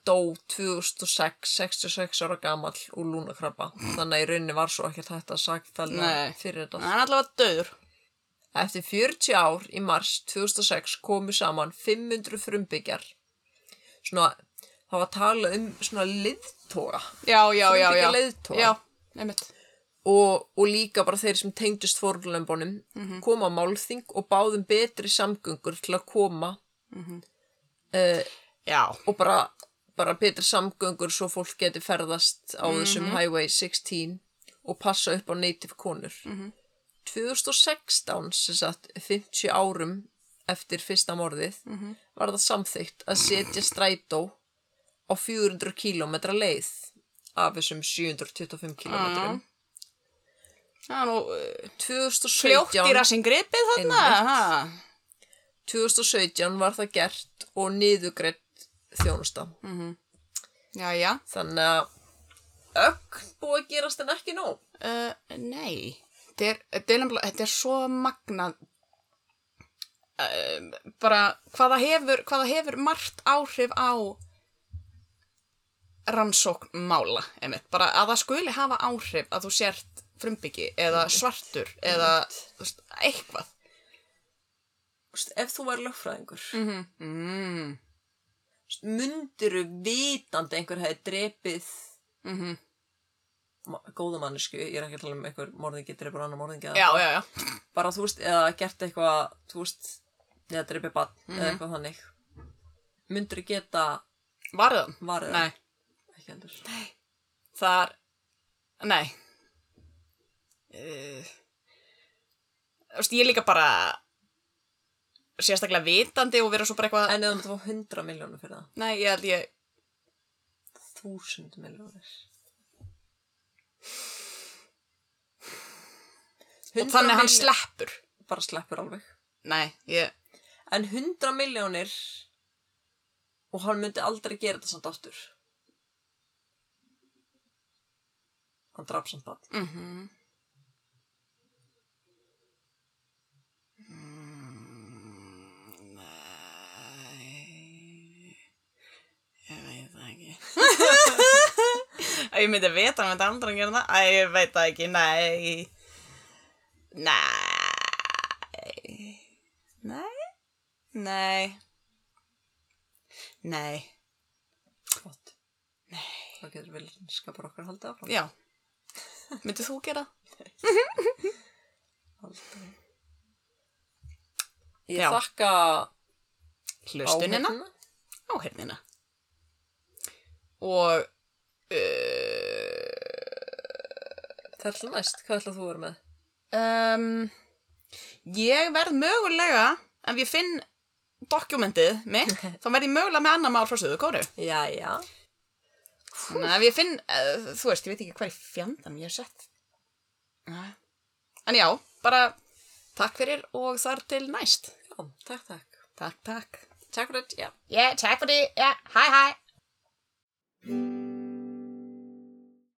[SPEAKER 3] dó 2006 66 ára gamall úr lúnakrabba þannig að í rauninni var svo ekkert hægt að
[SPEAKER 2] Nei.
[SPEAKER 3] sagfælna fyrir þetta
[SPEAKER 2] Hann er allavega döður.
[SPEAKER 3] Eftir 40 ár í mars 2006 komu saman 500 frumbyggjar. Svona, það var talað um svona liðtóra
[SPEAKER 2] Já, já, já, já.
[SPEAKER 3] Frumbyggja leiðtoga.
[SPEAKER 2] Já, einmitt.
[SPEAKER 3] og, og líka bara þeir sem tengdust fórlömbunum mm
[SPEAKER 2] Mhm.
[SPEAKER 3] -hmm. koma á málþing og báðum betri samgöngur til að koma
[SPEAKER 2] Já.
[SPEAKER 3] og bara, bara betri samgöngur svo fólk geti ferðast
[SPEAKER 2] Mhm.
[SPEAKER 3] á þessum Highway 16 og passa upp á native konur.
[SPEAKER 2] Mhm.
[SPEAKER 3] 2016, sem sagt 50 árum eftir fyrsta morðið,
[SPEAKER 2] Mhm.
[SPEAKER 3] var það samþygt að setja strætó á 400 km leið af þessum 725 km.
[SPEAKER 2] Ah. Það er nú eh,
[SPEAKER 3] 2017
[SPEAKER 2] fljótt í rassin gripið þarna.
[SPEAKER 3] Einmitt.
[SPEAKER 2] ha.
[SPEAKER 3] 2017 var það gert og niðugreitt þjónusta.
[SPEAKER 2] Mm. Já, já.
[SPEAKER 3] Þannig að ögn búið að gerast en ekki nóg.
[SPEAKER 2] Uh, nei, þetta er, þetta er, nefnilega- þetta er svo magnað uh, bara hvaða hefur, hvaða hefur margt áhrif á rannsókn mála einmitt. bara að það skuli hafa áhrif að þú sért frumbyggi eða svartur eða þú veist, eitthvað
[SPEAKER 3] Vist, ef þú væri lögfræðingur, mm.
[SPEAKER 2] mm -hmm.
[SPEAKER 3] mundiru vitandi einhver hefði drepið
[SPEAKER 2] Mm -hmm.
[SPEAKER 3] ma- góða mannesku, ég er ekki að tala um einhver morðingi drepur annar morðingi eða
[SPEAKER 2] Já, já, já
[SPEAKER 3] bara þú veist, eða gert eitthvað, þú veist, eða drepið bann
[SPEAKER 2] Mhm.
[SPEAKER 3] eða eitthvað þannig. Mundiru geta
[SPEAKER 2] Varðan?
[SPEAKER 3] varðið?
[SPEAKER 2] Nei,
[SPEAKER 3] Ekki heldur.
[SPEAKER 2] þar Nei uh, Þú veist, ég er líka bara sérstaklega vitandi og vera svo bara eitthvað
[SPEAKER 3] En eða þú fá 100 miljónum fyrir það,
[SPEAKER 2] Nei, ég held ég
[SPEAKER 3] 1000 miljónir.
[SPEAKER 2] Og þannig hann sleppur
[SPEAKER 3] bara sleppur alveg.
[SPEAKER 2] Nei, ég
[SPEAKER 3] En 100 miljónir og hann myndi aldrei gera þetta samt aftur. Hann draf samt bann.
[SPEAKER 2] mm Nei Ég veit það ekki Að ég myndi vita hann myndi aldrei að gera það Að ég veit það ekki, nei Nei Nei Nei Nei
[SPEAKER 3] Gott. Nei. Þá getur vel skapar okkar haldið áfram.
[SPEAKER 2] Já Myndið þú gera?
[SPEAKER 3] Aldrei. Ég
[SPEAKER 2] Já.
[SPEAKER 3] þakka hérna.
[SPEAKER 2] Hlustunina?
[SPEAKER 3] áheyrnina.
[SPEAKER 2] áhernina og uh,
[SPEAKER 3] Það er alltaf næst. Hvað ætlað þú að vera með?
[SPEAKER 2] um, ég verð mögulega ef ég finn dokumentið mitt, þá verð ég mögulega með annar mál frá söðu kóru
[SPEAKER 3] Jæja.
[SPEAKER 2] Þannig að ef ég finn, uh, þú veist, ég veit ekki hvað í fjandanum ég hef sett Nei. en já, bara takk fyrir og þar til næst
[SPEAKER 3] Já, takk, takk.
[SPEAKER 2] takk, takk
[SPEAKER 3] Takk fyrir þetta, já.
[SPEAKER 2] yeah, takk fyrir, yeah, hæ hæ